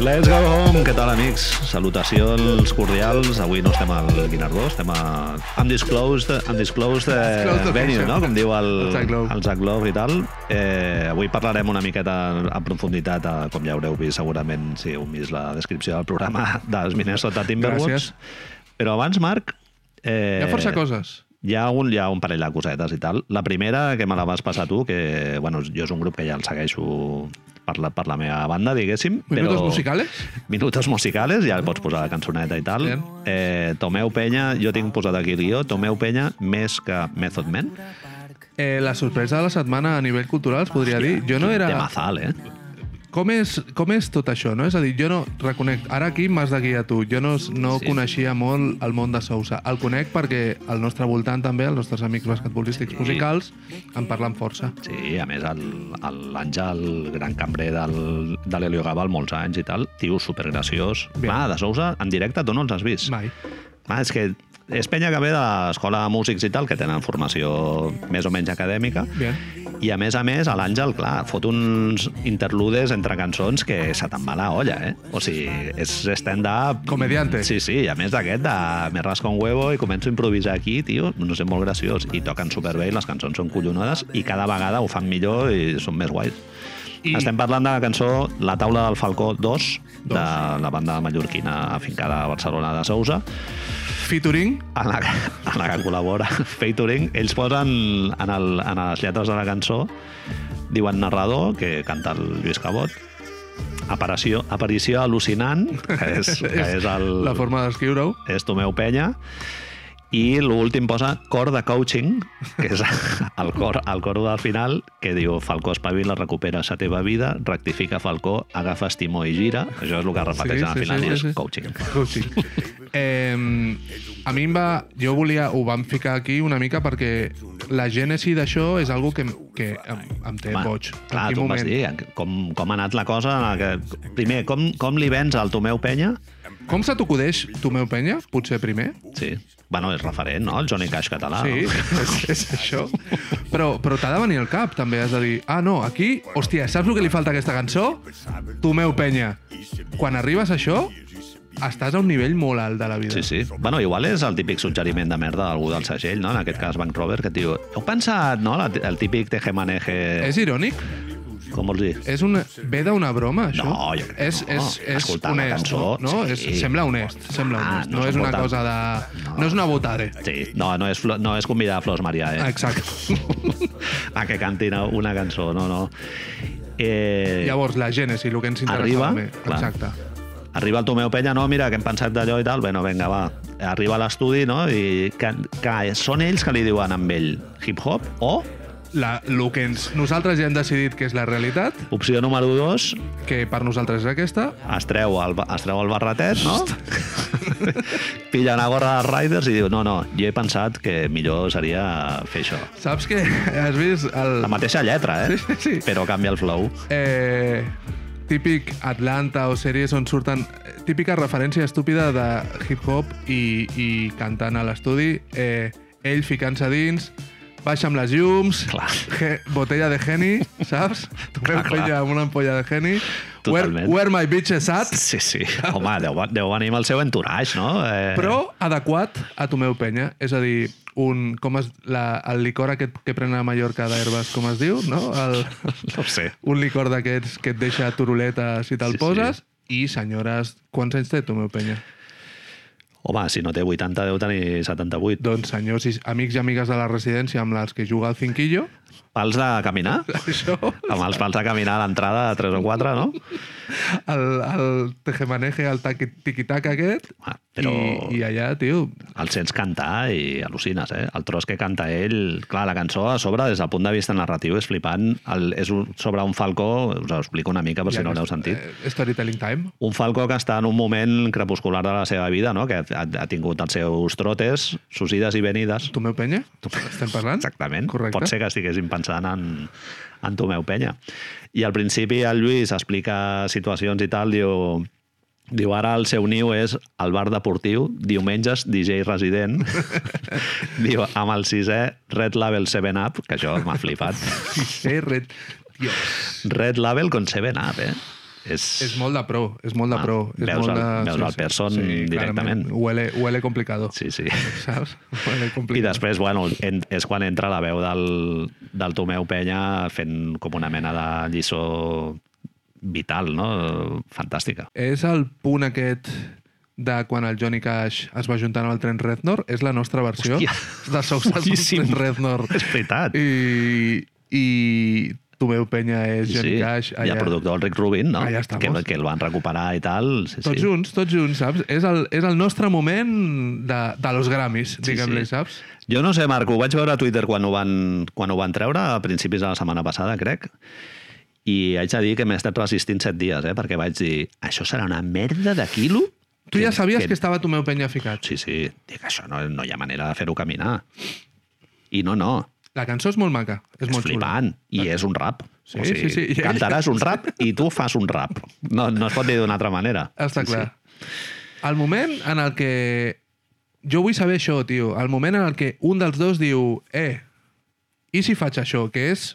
Let's go home! Què tal, amics? Salutacions cordials. Avui no estem al Guinardó, estem a Undisclosed, undisclosed eh, Undisclosed Venue, Location. no? Com diu el, El Zach Lowe. el Zach Lowe i tal. Eh, avui parlarem una miqueta en profunditat, eh, com ja haureu vist segurament si heu vist la descripció del programa dels Minnesota Timberwolves. Gràcies. Però abans, Marc... Eh, Hi ha força coses. hi ha, un, hi ha un parell de cosetes i tal. La primera, que me la vas passar tu, que bueno, jo és un grup que ja el segueixo per la, per la meva banda, diguéssim. Minutos però... musicales? Minutos musicales, ja pots posar la cançoneta i tal. Bien. Eh, Tomeu Penya, jo tinc posat aquí el guió, Tomeu Penya més que Method Man. Eh, la sorpresa de la setmana a nivell cultural, es podria dir. Jo no De era... mazal, eh? Com és, com és tot això, no? És a dir, jo no reconec... Ara aquí m'has de guiar tu. Jo no, no Sí. sí. coneixia molt el món de Sousa. El conec perquè al nostre voltant també, els nostres amics basquetbolístics musicals, en parlen força. Sí, a més, el- el- l'Àngel, gran cambrer del, de l'Helio Gabal, molts anys i tal, tio supergraciós. Bien. Va, de Sousa, en directe, tu no els has vist. Mai. Ah, és que és penya que ve de l'escola de músics i tal, que tenen formació més o menys acadèmica. Bien. I a més a més, a l'Àngel, clar, fot uns interludes entre cançons que se te'n va la olla, eh? O sigui, és stand-up... Comediante. Sí, sí, i a més d'aquest, de me rasco un huevo i començo a improvisar aquí, tio, no sé, molt graciós. I toquen superbé i les cançons són collonades i cada vegada ho fan millor i són més guais. I... I- Estem parlant de la cançó La taula del Falcó 2, de la banda mallorquina afincada a Barcelona de Sousa, Featuring? en la, que- en la que col·labora Featuring, ells posen en, el, en les lletres de la cançó diuen narrador, que canta el Lluís Cabot aparició, aparició al·lucinant que és, que és el, La forma d'escriure-ho. és Tomeu Penya i l'últim posa cor de coaching, que és el cor, el cor del final, que diu Falcó espavila, recupera la teva vida, rectifica Falcó, agafa estimó i gira. Això és el que repeteix sí, al final, sí, sí, és coaching. coaching. Eh, a mi em va... Jo volia... Ho vam ficar aquí una mica perquè la gènesi d'això és algo que, em- que em, em té Home, boig. En Clar, tu quin em vas dir en- com, com ha anat la cosa. en el Que, primer, com, com li vens al Tomeu Penya? Com se t'acudeix tu, meu penya? Potser primer? Sí. Bueno, és referent, no? El Johnny Cash català. sí, No? és, és això. Però, però t'ha de venir al cap, també. Has de dir, ah, no, aquí... Hòstia, saps el que li falta a aquesta cançó? Tu, meu penya. Quan arribes a això, estàs a un nivell molt alt de la vida. Sí, sí. Bueno, igual és el típic suggeriment de merda d'algú del segell, no? En aquest cas, Bank Robert, que et diu... Heu pensat, no? La- El típic tejemaneje... És irònic? Com vols dir? És una... Ve d'una broma, això? No, jo crec que és, no. És, és Escoltar la honest, cançó, no? no? sí. És, sembla honest, sembla Ah, honest. no no, és és una important. cosa de... No, és una botare. Sí, no, no és, flo- no és convidar a Flors Maria, Ah, eh? Exacte. A que cantin una cançó, no, no. Eh, Llavors, la gènesi, el que ens interessa Arriba, també. clar. Exacte. Arriba el Tomeu Penya, no, mira, que hem pensat d'allò i tal, bueno, vinga, va. Arriba a l'estudi, no, i que, que són ells que li diuen amb ell hip-hop o La, el que ens, nosaltres ja hem decidit que és la realitat, opció número 2, que per nosaltres és aquesta, es treu el, ba- es treu el barretet, no? Pilla una gorra dels Riders i diu, no, no, jo he pensat que millor seria fer això. saps que has vist el... La mateixa lletra, eh? Sí, sí, sí. Però canvia el flow. Eh, típic Atlanta o sèries on surten eh, típica referència estúpida de hip-hop i, i cantant a l'estudi, eh, ell ficant-se dins, baixa amb les llums, Clar. ge- botella de geni, saps? Tomeu Clar, clar. penya amb una ampolla de geni. Totalment. Where, where my bitch is at, Sí, sí. Home, deu, deu venir amb el seu entourage, no? Eh, però adequat a Tomeu Penya. És a dir, un, com es, la, el licor aquest que prenen a Mallorca d'herbes, com es diu, no? El, No ho sé. un licor d'aquests que et deixa turuleta si te'l Sí, sí, poses. I, senyores, quants anys té Tomeu Penya? Home, si no té 80, deu tenir 78. Doncs, senyors i amics i amigues de la residència amb les que juga al cinquillo, Pals de caminar? això, Amb els pals de caminar a l'entrada, 3 o 4, no? el, el tejemaneje, el taqui- tiquitaca aquest, Ah, però- i, i allà, tio, El sents cantar i al·lucines, eh? El tros que canta ell... Clar, la cançó a sobre, des del punt de vista narratiu, és flipant. El, és un, sobre un falcó, us ho explico una mica per Ja si no que l'heu és- sentit. eh, storytelling time. Un falcó que està en un moment crepuscular de la seva vida, no? que ha, ha tingut els seus trotes, sus ides i venides. Tomeu Penya? Estem parlant? Exactament. Correcte. Pot ser que estiguéssim pensant en, en Tomeu Penya. I al principi el Lluís explica situacions i tal, diu... Diu, ara el seu niu és al bar deportiu, diumenges DJ resident. diu, amb el sisè Red Label 7-Up, que això m'ha flipat. Sí, red... Dios. Red Label con 7-Up, eh? És... És molt de pro, és molt de Ah, pro. és veus molt el- de... veus el Person directament. clarament. Huele, huele complicado, sí. Sí, sí. saps? Huele I complicado. després, bueno, en, és quan entra la veu del, del Tomeu Penya fent com una mena de lliçó vital, no? Fantàstica. És el punt aquest de quan el Johnny Cash es va juntar amb el Trent Reznor, és la nostra versió Hòstia. de Sousa amb Boníssim. Trent Reznor. És veritat. I, i Tomeu Penya és Sí, Johnny sí. Cash. I el productor, el Rick Rubin, no? Allà estamos. que, que el van recuperar i tal. Sí, Tots sí. junts, tots junts, saps? És el, és el nostre moment de, de los Grammys, diguem-li, sí. saps? Jo no sé, Marc, ho vaig veure a Twitter quan ho van, quan ho van treure, a principis de la setmana passada, crec, i haig de dir que m'he estat resistint set dies, eh? perquè vaig dir, això serà una merda de quilo? Tu ja sabies que, estava Tomeu Penya ficat. Sí, sí, dic, això no, no hi ha manera de fer-ho caminar. I no, no, La cançó és molt maca, és, és, molt xula. flipant, i és un rap. Sí, sí, sí, i ell- Cantaràs un rap i tu fas un rap. No, no es pot dir d'una altra manera. Està Sí, sí. clar. El moment en el que... Jo vull saber això, tio. El moment en el que un dels dos diu eh, i si faig això, que és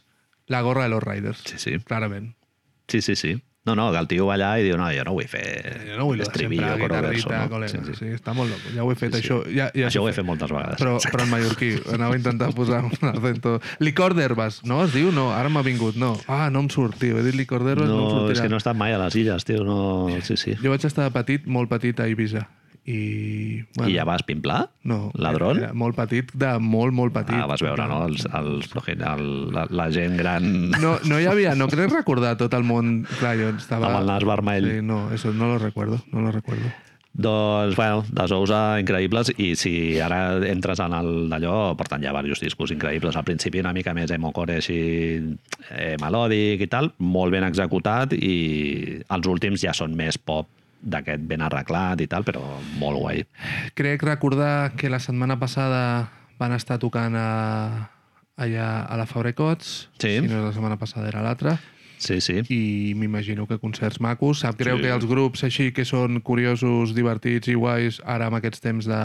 la gorra de los Riders. Sí, sí. Clarament. Sí, sí, sí. No, no, que el tio va allà i diu, no, jo no vull fer Eh, Jo no vull lo de sempre, estribillo, coro verso, guitarrita, no? col·lega. Sí, sí. Sí, està molt loco. Ja ho he fet, Sí, sí. això. Ja, ja Això ho he fet moltes vegades. Però, però en mallorquí. Anava a intentar posar un acento. Licor d'herbes, no? Es diu? No, ara m'ha vingut. No. Ah, no em surt, tio. He dit licor d'herbes, no, em No, és sortirà. que no he estat mai a les illes, tio. No... Sí, sí. Jo vaig estar de petit, molt petit, a Ibiza. I... I ja vas pimplar? No. Ladrón? Era molt petit, de molt, molt petit. Ah, vas veure, no? Els, els, progen- el, la, la gent gran... No, no hi havia, no crec recordar tot el món. Clar, jo estava... Amb el nas vermell. Sí, no, eso no lo recuerdo, no lo recuerdo. Doncs, bueno, les ous eh, increïbles i si ara entres en el d'allò, porten ja diversos discos increïbles. Al principi una mica més emocore així eh, melòdic i tal, molt ben executat i els últims ja són més pop d'aquest ben arreglat i tal, però molt guai. Crec recordar que la setmana passada van estar tocant a, allà a la Fabrecots, Sí. si no era la setmana passada era l'altra, Sí, sí. i m'imagino que concerts macos. Sap greu Sí. sí. que els grups així que són curiosos, divertits i guais, ara amb aquests temps de...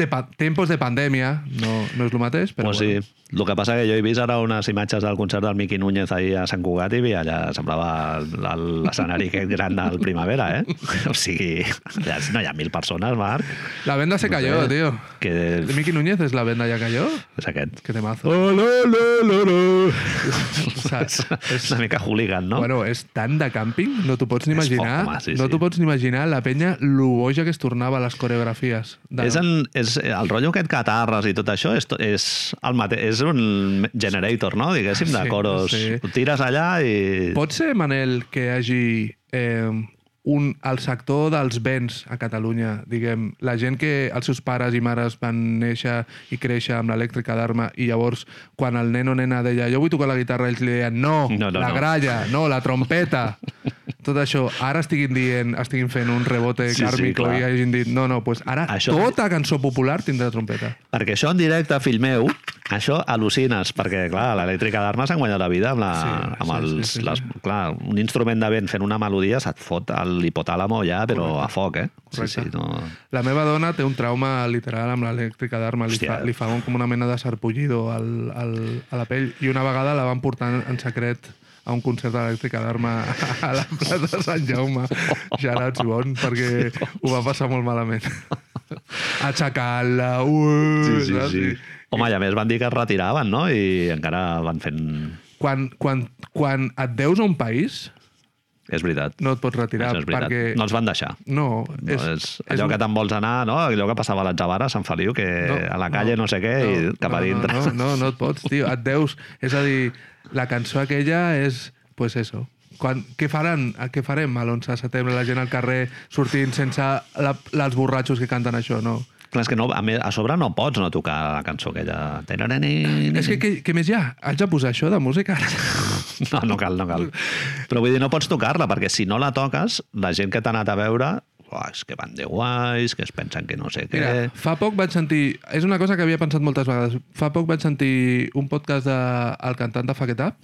de pa... tempos de pandèmia, no, no és el mateix, però Però bueno, sí. El que passa que jo he vist ara unes imatges del concert del Miqui Núñez ahir a Sant Cugat i veia allà semblava el- l'escenari aquest gran del Primavera, eh? O sigui, allà no hi ha mil persones, Marc, La venda se cayó, sé. tío. que De Miki Núñez es la venda ya cayó. és aquest. Que temazo. Oh, Saps? És una mica hooligan, no? Ah, Bueno, és tant de càmping, no t'ho pots ni És poc, imaginar. home, sí, no sí. t'ho pots ni imaginar la penya lo boja que es tornava a les coreografies. De... és, en, és el rotllo aquest catarres i tot això és, to- és, el mate, és un generator, no? Diguéssim, de Sí, coros. sí. Ho tires allà i... Pot ser, Manel, que hi hagi eh, un, el sector dels béns a Catalunya, diguem, la gent que els seus pares i mares van néixer i créixer amb l'elèctrica d'arma i llavors quan el nen o nena deia jo vull tocar la guitarra, ells li deien no, No, no, la no." gralla, no, la trompeta. Tot això, ara estiguin dient, estiguin fent un rebote Sí, sí, sí, kàrmico clar. sí, i hagin dit, no, no, pues ara Això- això... tota cançó popular tindrà trompeta. Perquè això en directe, fill meu, això al·lucines, perquè, clar, l'elèctrica d'armes s'han guanyat la vida amb, la, Sí, amb sí, els... sí, sí, les, sí. Clar, un instrument de vent fent una melodia se't fot a l'hipotàlamo ja, però a foc, eh? Sí, sí, Correcte. no... La meva dona té un trauma literal amb l'elèctrica d'arma. Li, Hòstia. fa, li fa un, com una mena de sarpullido al, al, a la pell. I una vegada la van portar en secret a un concert d'elèctrica d'arma a la plaça de Sant Jaume. Gerard Gibon, perquè ho va passar molt malament. Aixecant-la, uuuh... Sí, sí, saps? sí. I- Home, i a més van dir que es retiraven, no? I encara van fent... Quan, quan, quan et deus a un país, És veritat. no et pots retirar, Això és veritat. perquè... No els van deixar. No, No, és, és, allò un- que te'n vols anar, no? Allò que passava a l'Atzavara, a Sant Feliu, que no, a la calle no, no sé què, no, i cap a no, dintre. No, no, no, no et pots, tio. Et deus... És a dir, la cançó aquella és... Pues eso. Quan, què, faran, què farem a l'11 de setembre? La gent al carrer sortint sense la, la, els borratxos que canten això, no? Clar, és que no, a, més, a sobre no pots no tocar la cançó aquella... És que Mm-hmm. què, què més hi ha? Haig de posar això de música? No, no cal, no cal. Però vull dir, no pots tocar-la, perquè si no la toques, la gent que t'ha anat a veure, "Uah, és que van de guais, que es pensen que no sé què... Mira, fa poc vaig sentir... És una cosa que havia pensat moltes vegades. Fa poc vaig sentir un podcast del el cantant de Fuck It Up,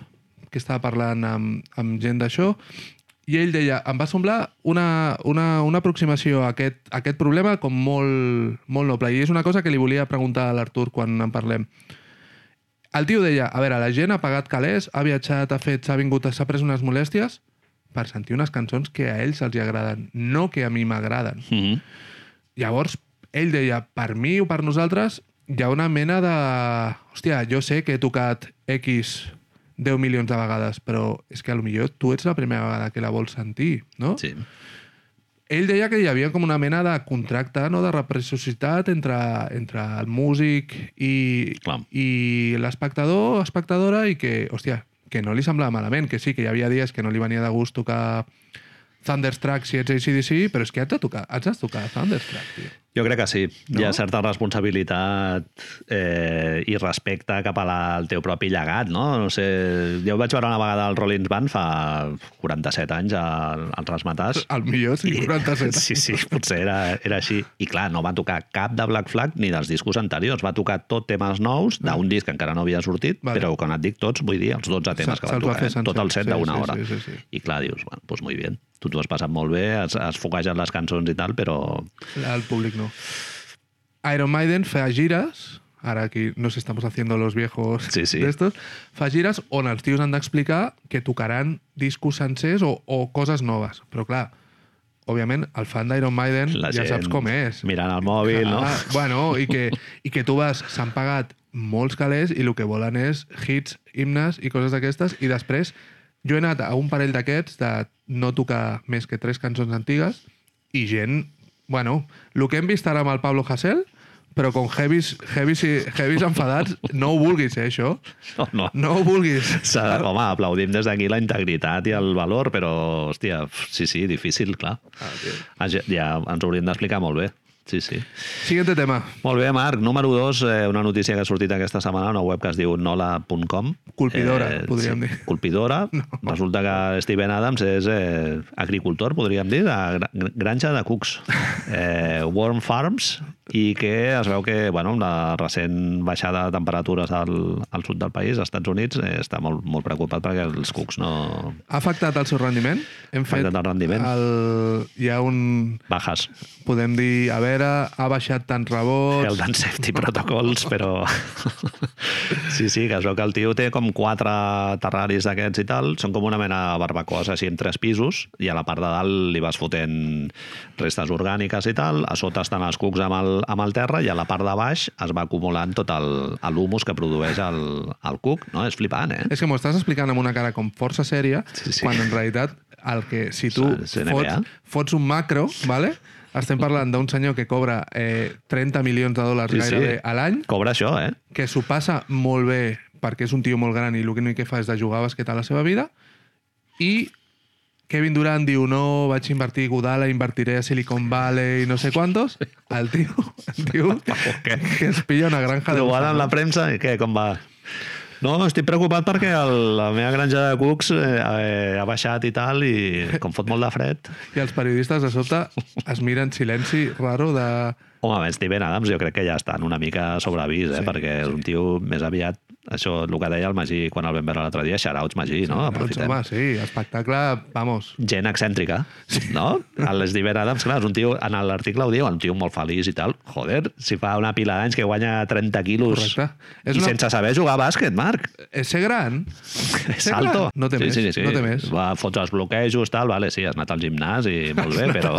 que estava parlant amb, amb gent d'això, i ell deia, em va semblar una, una, una aproximació a aquest, a aquest problema com molt, molt noble. I és una cosa que li volia preguntar a l'Artur quan en parlem. El tio deia, a veure, la gent ha pagat calés, ha viatjat, ha fet, s'ha vingut, s'ha pres unes molèsties, per sentir unes cançons que a ells els hi agraden, no que a mi m'agraden. Mm -hmm. Llavors, ell deia, per mi o per nosaltres, hi ha una mena de... Hòstia, jo sé que he tocat X 10 milions de vegades, però és que a lo millor tu ets la primera vegada que la vols sentir, no? Sí. Ell deia que hi havia com una mena de contracte, no?, de reciprocitat entre, entre el músic i, Clar. i l'espectador o espectadora i que, hòstia, que no li semblava malament, que sí, que hi havia dies que no li venia de gust tocar Thunderstruck si ets ACDC, però és que has de tocar, has de tocar Thunderstruck, tio. Jo crec que sí. No? Hi No? ha certa responsabilitat eh, i respecte cap a la, al teu propi llegat, no? No sé... Jo vaig veure una vegada el Rollins Band fa 47 anys al, al Rasmatàs. Al millor, Ah, sí, 47. Sí, sí, potser era, era així. I clar, no va tocar cap de Black Flag ni dels discos anteriors. Va tocar tot temes nous d'un disc que encara no havia sortit, Ah. Vale. vale. però quan et dic tots, vull dir els 12 temes Se- que van se'ls va tocar, fer eh? tot sencer. el set Sí, d'una sí, hora. sí, sí, sí. I clar, dius, bueno, doncs molt bé, tu t'ho has passat molt bé, has, has foguejat les cançons i tal, però... Al públic no. Iron Maiden fa gires, ara aquí nos estamos haciendo los viejos Sí, sí. d'estos, fa gires on els tios han d'explicar que tocaran discos sencers o, o coses noves. Però clar, òbviament, el fan d'Iron Maiden La ja gent saps com és. Mirant el mòbil, no? Ah, bueno, i que, i que tu vas, s'han pagat molts calés i el que volen és hits, himnes i coses d'aquestes i després jo he anat a un parell d'aquests de no tocar més que tres cançons antigues i gent, bueno, el que hem vist ara amb el Pablo Hasél, però con heavies, heavies, i- heavies enfadats, no ho vulguis, eh, això. No, no. No ho vulguis. S'ha- Home, aplaudim des d'aquí la integritat i el valor, però, hòstia, sí, sí, difícil, clar. Ah, ja, ja ens ho hauríem d'explicar molt bé. Sí, sí. Siguiente tema. Molt bé, Marc. Número 2, eh, una notícia que ha sortit aquesta setmana, una web que es diu nola.com. Colpidora, podríem dir. Eh, Colpidora. No. Resulta que Steven Adams és eh, agricultor, podríem dir, de gra- granja de cucs. Eh, Warm Farms, i que es veu que, bueno, amb la recent baixada de temperatures al, al sud del país, als Estats Units, eh, està molt, molt preocupat perquè els cucs no... Ha afectat el seu rendiment? Hem Ha afectat el rendiment. El... Hi ha un... Bajas. Podem dir, a veure, ha baixat tants rebots... Health and Safety Protocols, però... sí, sí, que es veu que el tio té com quatre terraris d'aquests i tal. Són com una mena de barbacoes així en tres pisos i a la part de dalt li vas fotent restes orgàniques i tal. A sota estan els cucs amb el, amb el terra i a la part de baix es va acumulant tot el- l'humus que produeix el, el cuc. No? És flipant, eh? És que m'ho estàs explicant amb una cara com força sèria, Sí, sí. quan en realitat el que, si tu És- és NBA. fots, fots un macro, vale? estem parlant d'un senyor que cobra eh, 30 milions de dòlars Sí, sí, sí. gairebé sí. a l'any, Cobra això, eh? que s'ho passa molt bé perquè és un tio molt gran i l'únic que fa és de jugar a basquet a la seva vida, i Kevin Durant diu no, vaig invertir a Godala, invertiré a Silicon Valley, no sé quantos, el tio, el tio eh? que es pilla una granja de... Trobada amb la premsa i què, com va? No, estic preocupat perquè el, la meva granja de cucs eh, eh, ha baixat i tal i com fot molt de fred... I els periodistes de sobte es miren silenci raro de... Home, a més, Steven Adams jo crec que ja estan una mica sobre avís, eh? Sí, Sí, perquè és un tio més aviat, això, el que deia el Magí quan el vam veure l'altre dia, shoutouts, Magí, sí, no? Doncs, Aprofitem. home, sí, espectacle, vamos. gent excèntrica, no? El Steven Adams, clar, és un tio, en l'article ho diu, un tio molt feliç i tal. Joder, si fa una pila d'anys que guanya 30 quilos Correcte. És i una- una... sense saber jugar a bàsquet, Marc. És ser gran. Ser Salto. gran. No té sí, més. Sí, sí. No té més. Va, fots els bloquejos, tal, vale, sí, has anat al gimnàs i molt bé, però...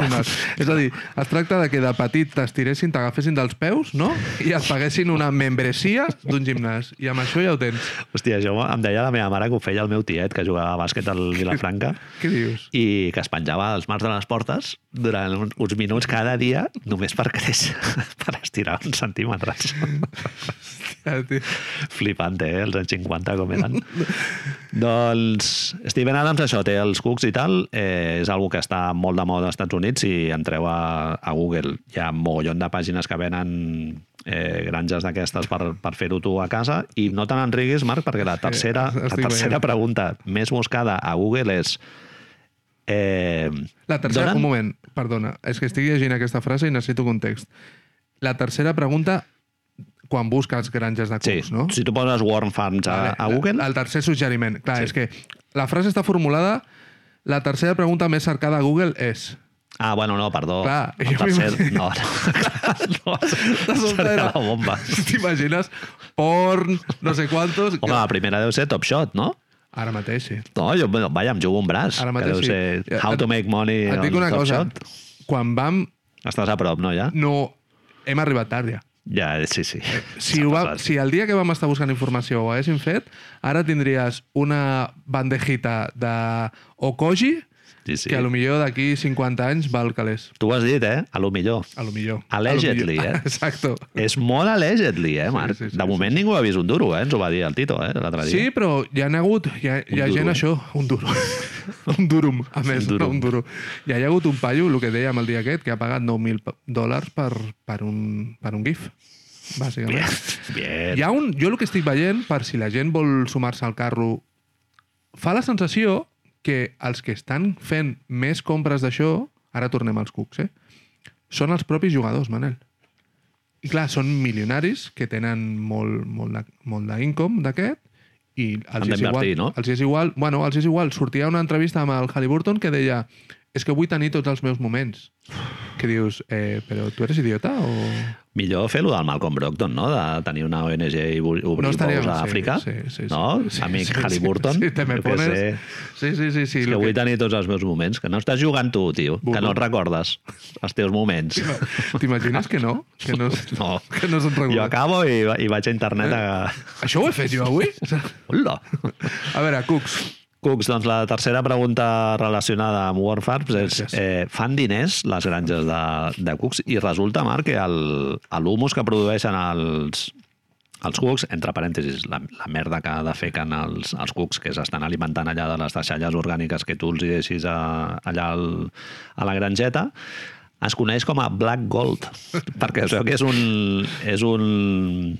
És a dir, es tracta de que de petit t'estiressin, t'agafessin dels peus, no? I et paguessin una membresia d'un gimnàs. I amb això ja ho tens. Hòstia, jo em deia la meva mare que ho feia el meu tiet, que jugava a bàsquet al Vilafranca, Què dius? i que es penjava als mars de les portes durant un- uns minuts cada dia només per créixer, per estirar uns centímetres. Ja, Eh, tio. Flipant, eh? Els anys 50 com eren. doncs Steven Adams això, té els cucs i tal, eh, és algo que està molt de moda als Estats Units si entreu a, a Google hi ha mogollon de pàgines que venen eh, granges d'aquestes per, per fer-ho tu a casa i no te n'enriguis, Marc, perquè la tercera, la estic tercera veient. pregunta més buscada a Google és eh, La tercera... donen- Un moment, perdona. És que estic llegint aquesta frase i necessito context. La tercera pregunta quan busques granges de Sí, cucs, no? si tu poses Warm Farms a, a Google, El tercer suggeriment. Clar, sí. és que la frase està formulada... La tercera pregunta més cercada a Google és... Ah, bueno, no, perdó. Clar, el jo tercer... m'imagino- No, no, De no. sobte Seria era- la bomba. T'imagines? Porn, no sé quantos... Home, la primera deu ser Top Shot, no? Ara mateix, sí. No, jo, bueno, vaja, em jugo un braç. Ara que mateix deu sí. ser Ja, How et- to make money Et dic on una Top cosa. doncs, Shot. Quan vam... Estàs a prop, no, ja? No... Hem arribat tard, ja. Ja, sí, sí. Si, S'ha ho va, passat. si el dia que vam estar buscant informació ho haguéssim fet, ara tindries una bandejita de Okoji sí, sí. que a lo millor d'aquí 50 anys val calés. Tu ho has dit, eh? A lo millor. A lo millor. Allegedly, A lo eh? millor. Exacto. És molt allegedly, eh, Marc? sí, sí, de moment ningú ha vist un duro, eh? Ens ho va dir el Tito, eh, l'altre dia. Sí, però hi ha hagut, hi ha, hi ha duro, gent eh? això, un duro, un durum, a més, Un un, durum. no, un duro. Hi ha hagut un paio, el que dèiem el dia aquest, que ha pagat 9.000 pa- dòlars per, per, un, per un GIF, bàsicament. Bien, bien. Hi ha un, jo el que estic veient, per si la gent vol sumar-se al carro, fa la sensació que els que estan fent més compres d'això, ara tornem als cucs, eh? són els propis jugadors, Manel. I clar, són milionaris que tenen molt, molt, de, molt d'income d'aquest i els Han és igual. d'invertir, no? Els és igual, bueno, els és igual. Sortia una entrevista amb el Halliburton que deia és que vull tenir tots els meus moments. Que dius, eh, però tu eres idiota o... Millor fer-lo del Malcolm Brogdon, no? De tenir una ONG i obrir no estaria- bous a sí, Àfrica. sí, sí, sí. no? Sí, Amic sí, Halliburton. sí, sí, te me jo què pones. sé. Sí, sí, sí. sí És que lo vull que- tenir tots els meus moments, que no estàs jugant tu, tio, que no Burro. et recordes els teus moments. T'imagines que no? Que no, No. que no se'n Jo recorda. acabo i, va- i vaig a internet a... Això ho he fet jo avui? Hola! A veure, Cucs, Cooks, doncs la tercera pregunta relacionada amb Warfarms és Gràcies. eh, fan diners les granges de, de Cooks i resulta, Marc, que el- el humus que produeixen els, els cucs, entre parèntesis, la, la merda que defequen els, els cucs que s'estan alimentant allà de les deixalles orgàniques que tu els hi deixis a, allà al, a la granjeta, es coneix com a black gold, perquè es veu que és un, és un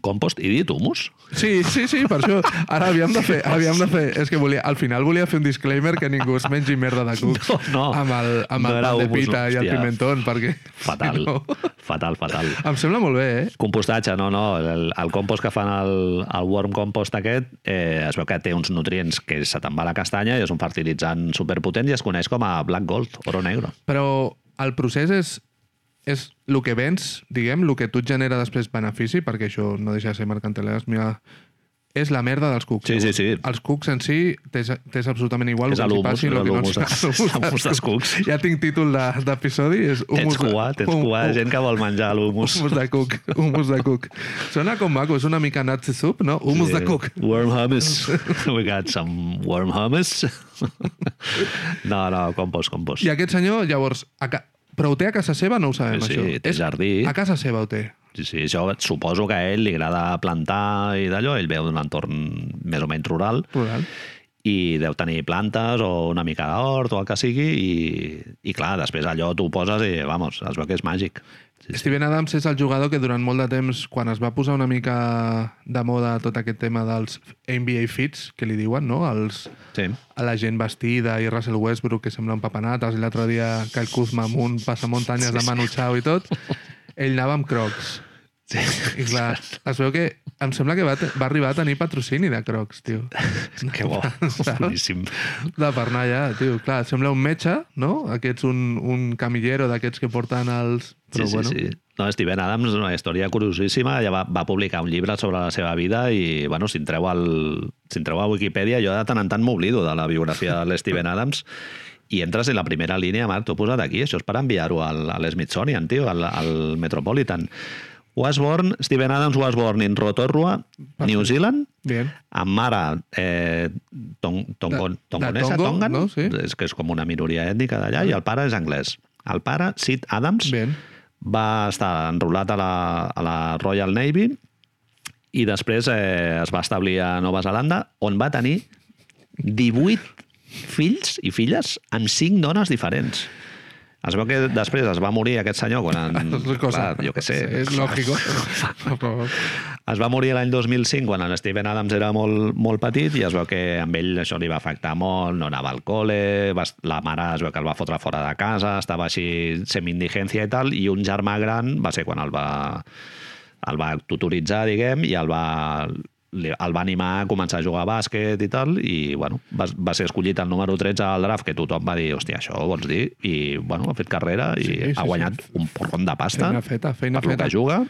compost, i dit humus? Sí, sí, sí, per això. Ara havíem de fer... Ara havíem de fer és que volia, al final volia fer un disclaimer que ningú es mengi merda de cucs No, no. amb el, amb No el era pan de humus, pita i el hòstia. pimentón, perquè... Fatal, si no. fatal, fatal. Em sembla molt bé, eh? Compostatge, no, no. El, el compost que fan el, el worm compost aquest eh, es veu que té uns nutrients que se te'n va a la castanya i és un fertilitzant superpotent i es coneix com a black gold, oro negro. Però el procés és és el que vens, diguem, el que tu et genera després benefici, perquè això no deixa de ser mercantilès, mira, és la merda dels cucs. Sí, sí, sí. Els cucs en si t'és t'és absolutament igual És el que els hi l'humus, passi, és el que no ens l'humus dels- l'humus dels l'humus dels cucs. Ja tinc títol de- d'episodi, és Tens cua, tens hum- cua, hum- gent que vol menjar l'humus. Humus de cuc, humus de cuc. Sona com maco, és una mica nazi soup, no? Humus de cuc. Worm hummus. We got some worm hummus. No, no, compost, compost. I aquest senyor, llavors, a ca... però ho té a casa seva? No ho sabem, Sí, sí, això. té És- jardí. A casa seva ho té. Sí, sí, això suposo que a ell li agrada plantar i d'allò. Ell veu d'un entorn més o menys rural. Plural. i deu tenir plantes o una mica d'hort o el que sigui i, i clar, després allò tu ho poses i vamos, es veu que és màgic. Sí, sí. Steven Adams és el jugador que durant molt de temps, quan es va posar una mica de moda tot aquest tema dels NBA fits, que li diuen, no? Els, sí. a la gent vestida i Russell Westbrook que semblen papanates i l'altre dia Kyle Kuzma amb un passamuntanyes Sí, de sí. Manu Chao i tot, ell anava amb crocs. sí. I clar, es veu que em sembla que va, te- va arribar a tenir patrocini de crocs, tio. Que bo, boníssim. De per anar allà, tio. Clar, sembla un metge, no? Aquests, un, un camillero d'aquests que porten els... Sí, Però, sí, bueno, sí. No, Steven Adams és una història curiosíssima. Ja va, va publicar un llibre sobre la seva vida i, bueno, si entreu, al, si entreu a Wikipedia, jo de tant en tant m'oblido de la biografia de l'Steven Adams i entres en la primera línia, Marc, t'ho he posat aquí, això és per enviar-ho al, a l'Smithsonian, tio, al, al Metropolitan. Was born, Steven Adams was born in Rotorua, New Zealand, Bien. amb mare eh, tong, tongon, de tongonesa, Tongo, tongan, no? Sí. és que és com una minoria ètnica d'allà, i el pare és anglès. El pare, Sid Adams, Bien. va estar enrolat a la, a la Royal Navy i després eh, es va establir a Nova Zelanda, on va tenir 18 fills i filles amb 5 dones diferents. Es veu que després es va morir aquest senyor quan... En, Es cosa. jo què sé. Es lógico. Però- Es va morir l'any 2005 quan el Steven Adams era molt, molt petit i es veu que amb ell això li va afectar molt, no anava al col·le, va, la mare es veu que el va fotre fora de casa, estava així semi-indigència i tal, i un germà gran va ser quan el va, el va tutoritzar, diguem, i el va li- el va animar a començar a jugar a bàsquet i tal, i bueno, va, va ser escollit el número 13 al draft, que tothom va dir, hòstia, això ho vols dir? I bueno, ha fet carrera i sí, Sí, sí, ha sí. guanyat un porron de pasta Feina feta, feina per lo feta. que juga.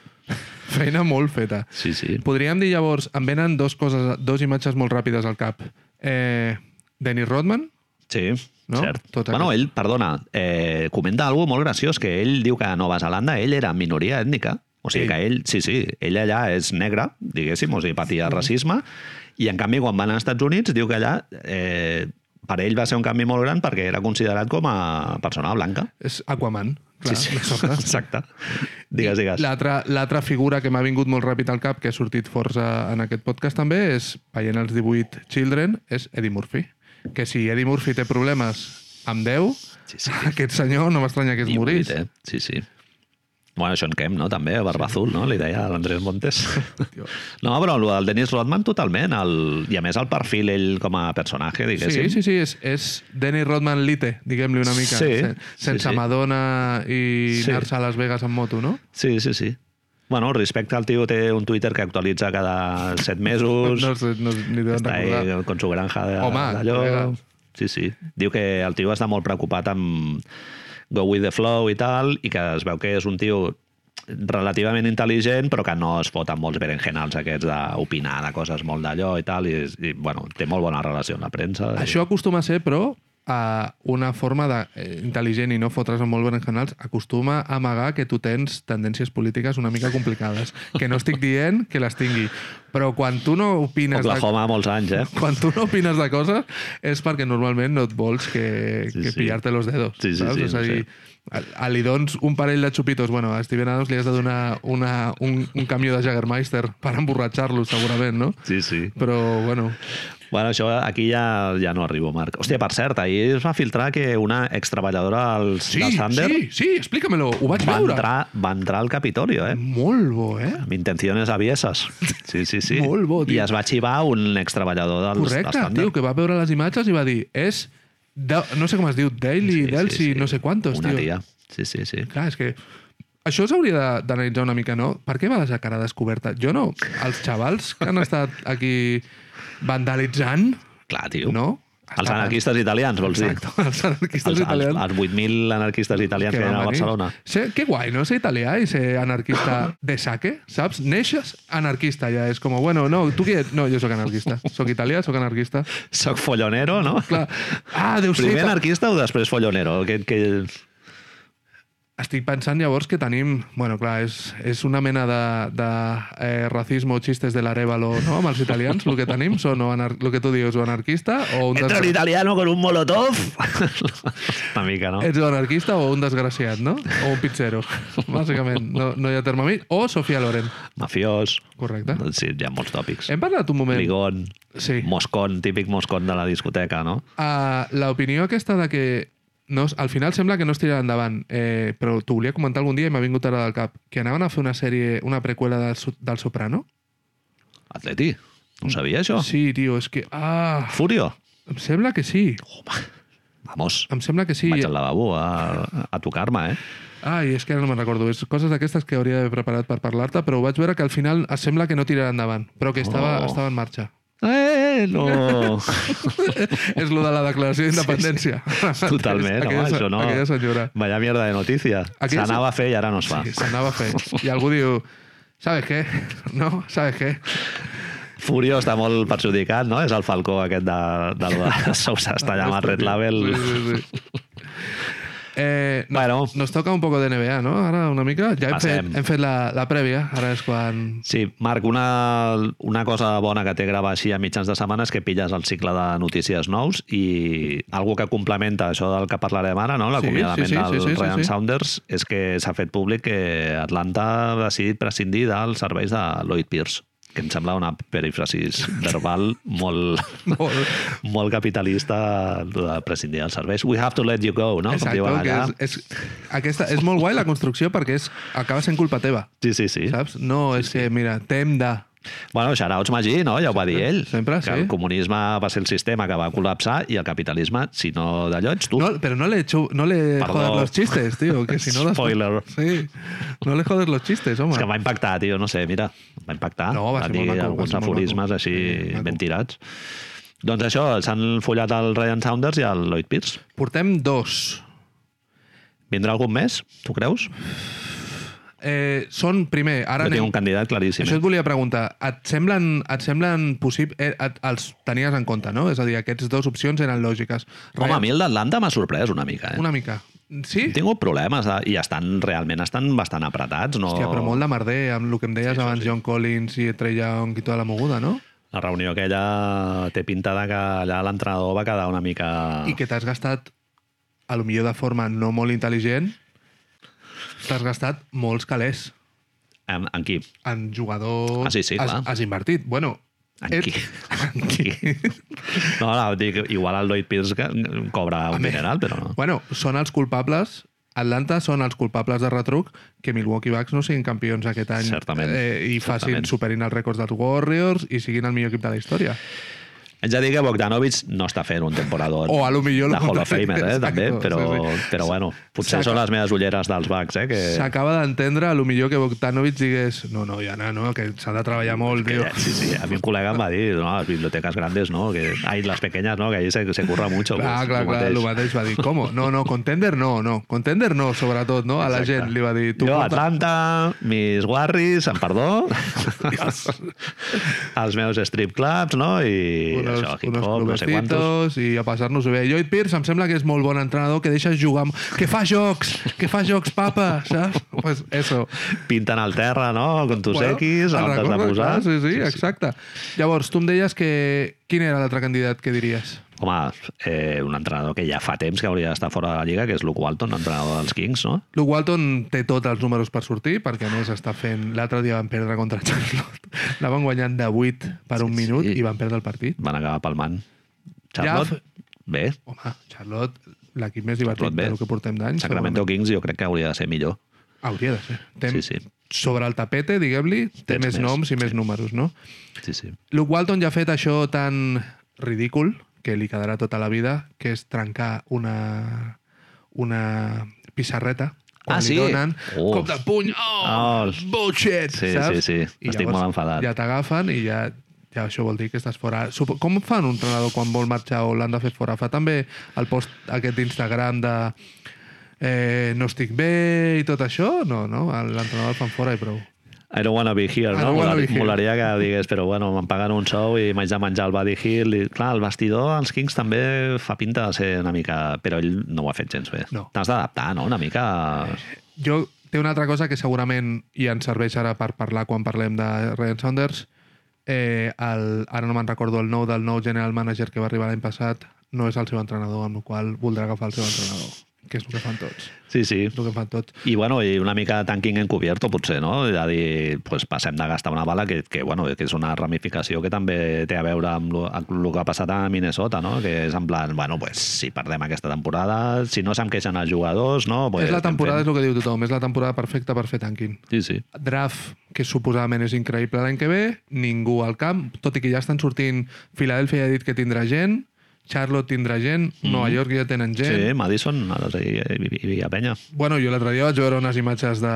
Feina molt feta. Sí, sí. Podríem dir llavors, em venen dos, coses, dos imatges molt ràpides al cap. Eh, Dennis Rodman, Sí, No? no? cert. Tot bueno, aquest- ell, perdona, eh, comenta alguna molt graciós, que ell diu que a Nova Zelanda ell era minoria ètnica. O sigui Ell. que ell, sí, sí, ell allà és negre, diguéssim, o sigui, patia racisme, i en canvi quan va anar als Estats Units diu que allà eh, per ell va ser un canvi molt gran perquè era considerat com a persona blanca. és Aquaman. Clar, sí, sí. exacte. Digues, digues. La... L'altra l'altra figura que m'ha vingut molt ràpid al cap, que ha sortit força en aquest podcast també, és, veient els 18 Children, és Eddie Murphy. Que si Eddie Murphy té problemes amb Déu, Sí, sí. aquest senyor no m'estranya que es morís. eh? Sí, sí. Bueno, Sean Kemp, no? També, a Barba Azul, no? Li deia a l'Andrés Montes. Tio. No, però el del Dennis Rodman totalment, el, i a més el perfil ell com a personatge, Sí, diguéssim. sí, sí, és, és Dennis Rodman Lite, diguem-li una mica. Sí, sen- sí, sense sí. Madonna i Sí. anar-se a Las Vegas amb moto, no? sí, sí, sí. Bueno, respecte al tio, té un Twitter que actualitza cada set mesos. No sé, no, ni t'ho Està recordar. ahí con su granja de- Home, d'allò. col·lega. Sí, sí. Diu que el tio està molt preocupat amb Go with the flow i tal, i que es veu que és un tio relativament intel·ligent, però que no es fot amb molts berenjenals aquests d'opinar de coses molt d'allò i tal, i, i bueno, té molt bona relació amb la premsa. i- Això acostuma a ser, però, a una forma de, eh, intel·ligent i no fotre's amb molt bons canals, acostuma a amagar que tu tens tendències polítiques una mica complicades. Que no estic dient que les tingui. Però quan tu no opines... De, Oklahoma molts anys, eh? quan tu no opines de coses és perquè normalment no et vols que, Sí, que sí. pillar-te los dedos. Sí, sí, saps? sí, és a no dir, sé. a, a li dons un parell de xupitos. Bueno, a Steven Adams li has de donar una, un, un camió de Jagermeister per emborratxar-lo, segurament, no? Sí, sí. Però, bueno, Bueno, això aquí ja, ja no arribo, Marc. Hòstia, per cert, ahir es va filtrar que una extreballadora dels, Sí, del Thunder sí, sí, explícamelo. Ho vaig va, veure. entrar, va entrar al Capitolio, eh? Molt bo, eh? Amb intencions avieses. Sí, sí, sí. Molt bo, tio. I es va xivar un extreballador dels, dels Correcte, Thunder. tio, que va veure les imatges i va dir és... De, no sé com es diu, Daily, sí, Delsi, sí, no sé quantos, Una tio. tia. Sí, sí, sí. Clar, és que... Això s'hauria de- d'analitzar una mica, no? Per què va deixar cara descoberta? Jo no. Els xavals que han estat aquí vandalitzant, Clar, tio. no? Els anarquistes italians, vols dir? Exacte, els anarquistes Els, els, italians. els 8.000 anarquistes italians que, que van eren a venir. Barcelona. Ser, que guai, no? Ser italià i ser anarquista de saque, saps? Neixes anarquista ja, és com, bueno, no, tu qui ets? No, jo sóc anarquista. Sóc italià, sóc anarquista. Soc follonero, no? Clar. Ah, deu ser... Primer ta- anarquista o després follonero? Que, que... Estic pensant llavors que tenim... Bueno, clar, és, és una mena de, de eh, racisme o xistes de l'Arevalo, no? Amb els italians, el que tenim són o anar... el que tu dius, o anarquista o un Entra un desgraciat. italiano con un molotov. Una mica, no? Ets o anarquista o un desgraciat, no? O un pizzero, bàsicament. No, no hi ha terme mig. O Sofia Loren, Mafiós. correcte. Sí, hi ha molts tòpics. Hem parlat un moment... Ligón. Eh? Sí. Moscón, típic moscón de la discoteca, no? Uh, L'opinió aquesta de que no, es- al final sembla que no es tirarà endavant, eh, però t'ho volia comentar algun dia i m'ha vingut ara del cap, que anaven a fer una sèrie, una preqüela del, So- del Soprano. Atleti. No ho sabia, això? Mm. Sí, tio, és que... Ah, Furio. em sembla que sí. Vamos. Em sembla que sí. Vaig al lavabo a, a tocar-me, eh? Ai, és que ara no me'n recordo. És coses d'aquestes que hauria d'haver preparat per parlar-te, però vaig veure que al final es sembla que no tirarà endavant, però que estava, Oh. estava en marxa. Eh, no. és lo de la declaració d'independència. Totalment, home, Aquella- això no. Aquella senyora. Vaya mierda de notícia. Aquella- S'anava a fer i ara no es fa. Sí, s'anava a fer. I algú diu, sabes què? No, sabes què? Furio està molt perjudicat, no? És el falcó aquest de, de, de Sousa, està llamat Red Label. Sí, sí, sí. Eh, no, Bueno. Nos toca un poco de NBA, no? Ara una mica. Ja hem Passem. fet, hem fet la, la prèvia, ara és quan... Sí, Marc, una, una cosa bona que té gravar així a mitjans de setmana és que pilles el cicle de notícies nous i algo que complementa això del que parlarem ara, no? l'acomiadament sí, sí, sí, del sí, sí, Ryan sí. Saunders, és que s'ha fet públic que Atlanta ha decidit prescindir dels serveis de Lloyd Pierce, que em sembla una perifrasis verbal molt, Molt. molt capitalista lo de prescindir dels serveis. We have to let you go, no? Ah, Com diuen que allà. és, és, aquesta, és molt guai la construcció perquè és, acaba sent culpa teva, Sí, sí, sí. saps? No, és que, mira, t'hem de... Bueno, xarauts Magí, no? Ja ho va dir ell. sempre, que sí. el comunisme va ser el sistema que va col·lapsar i el capitalisme, si no d'allò, ets tu. No, pero no le, echo, no le Perdó. jodas los chistes, tío. Que si no los- Spoiler. Sí. No le jodes los chistes, home. És que em va impactar, tio, no sé, mira, em va impactar. No, va ser dir molt maco, va alguns ser molt aforismes maco. així Sí, maco. ben tirats. Doncs això, s'han follat el Ryan Saunders i el Lloyd Pierce. Portem dos. Vindrà algun més, tu creus? Eh, són, primer, ara Jo tinc anem... un candidat claríssim. eh? Això et volia preguntar. Et semblen, et semblen possible... Eh, et, els tenies en compte, no? És a dir, aquestes dues opcions eren lògiques. Home, a mi el d'Atlanta m'ha sorprès una mica, eh? Una mica. Sí? He tingut problemes eh? i estan, realment estan bastant apretats. No... Hòstia, però molt de merder, amb el que em deies sí, abans, John Collins i Trey Young i tota la moguda, no? La reunió aquella té pinta de que allà l'entrenador va quedar una mica... I que t'has gastat, a lo millor de forma no molt intel·ligent, t'has gastat molts calés En, en qui? en jugador... Ah, sí, sí, has, clar. has invertit. Bueno, En et- qui? En qui? No, no, dic, igual el Lloyd Pierce que mm, cobra un mineral, però no. Bueno, són els culpables Atlanta són els culpables de retruc que Milwaukee Bucks no siguin campions aquest any Certament, eh, i facin, certament. superin els rècords dels Warriors i siguin el millor equip de la història. Haig de dir que Bogdanovic no està fent un temporador O a lo millor de el Hall of contrari, Famer, eh, exacto, també, però, sí, sí. però bueno, potser S'aca- són les meves ulleres dels Bucks, eh, que... S'acaba d'entendre, a lo millor que Bogdanovic digués no, no, ja no, no que s'ha de treballar molt, tio. Eh, Sí, sí, a mi un col·lega em va dir, no, les biblioteques grandes, no, que... Ai, les pequeñas, no, que ahí se, se curra mucho. pues, Clar, Ah, clar, lo clar, mateix. el mateix va dir, com? No, no, contender no, no, contender no, sobretot, no? A la Exacte. gent li va dir, tu Jo, porta... Atlanta, mis guarris, em perdó, els meus strip clubs, no? I unos, això, unos hip-hop, no sé quantos. clubecitos i a passar-nos-ho bé. Lloyd Pierce em sembla que és molt bon entrenador que deixa jugar amb... Que fa jocs! Que fa jocs, papa! Saps? Pues eso. Pinten al terra, no? Con tus bueno, X, el on t'has de recordes, posar. clar, Ah, Sí, sí, exacte. Llavors, tu em deies que... Quin era l'altre candidat que diries? Home, eh, un entrenador que ja fa temps que hauria d'estar fora de la lliga, que és Luke Walton, entrenador dels Kings, no? Luke Walton té tots els números per sortir, perquè a més està fent... L'altre dia van perdre contra Charlotte. Anaven guanyant de 8 per un minut sí. i van perdre el partit. Van acabar palmant. Charlotte, bé. Home, Charlotte, l'equip més divertit Charlotte bé. del que portem d'anys. Sacramento Kings jo crec que hauria de ser millor. Hauria de ser. Té, Sí, sí, sí. sí. Sobre el tapete, diguem-li, té Tens més, més, noms i més números, no? Sí, sí. Luke Walton ja ha fet això tan ridícul que li quedarà tota la vida, que és trencar una, una pissarreta quan Ah, li sí? donen Uf. cop de puny, oh, Oh. oh. bullshit, Sí, saps? sí, sí. Estic llavors molt enfadat. Ja t'agafen i ja, ja això vol dir que estàs fora. Supo- Com fan un entrenador quan vol marxar o l'han de fer fora? Fa també el post aquest d'Instagram de eh, no estic bé i tot això? No, no, l'entrenador el fan fora i prou. I don't wanna be here, I no? don't wanna Molari- be here. Molaria que digués, però bueno, em paguen un sou i m'haig de menjar el Buddy Hill. I, clar, el vestidor, els Kings també fa pinta de ser una mica... Però ell no ho ha fet gens bé. No. Eh. T'has d'adaptar, no? Una mica... Jo, té una altra cosa que segurament i ens serveix ara per parlar quan parlem de Ryan Saunders. Eh, el, ara no me'n recordo el nou del nou general manager que va arribar l'any passat, no és el seu entrenador, amb el qual voldrà agafar el seu entrenador, que és el que fan tots. Sí, sí. És el que fan tots. I, bueno, i una mica de tanking encubierto, potser, no? És a dir, pues, passem de gastar una bala, que, que, bueno, que és una ramificació que també té a veure amb el que ha passat a Minnesota, no? Que és en plan, bueno, pues, si perdem aquesta temporada, si no se'm queixen els jugadors, no? Pues, és la estem temporada, fent- és el que diu tothom, és la temporada perfecta per fer tanking. Sí, sí. draft que suposadament és increïble l'any que ve, ningú al camp, tot i que ja estan sortint... Filadèlfia ja ha dit que tindrà gent, Charlotte tindrà gent, Nova York ja tenen gent... Sí, Madison, ara sí, i, i, i a Penya. Bueno, jo l'altre dia vaig veure unes imatges de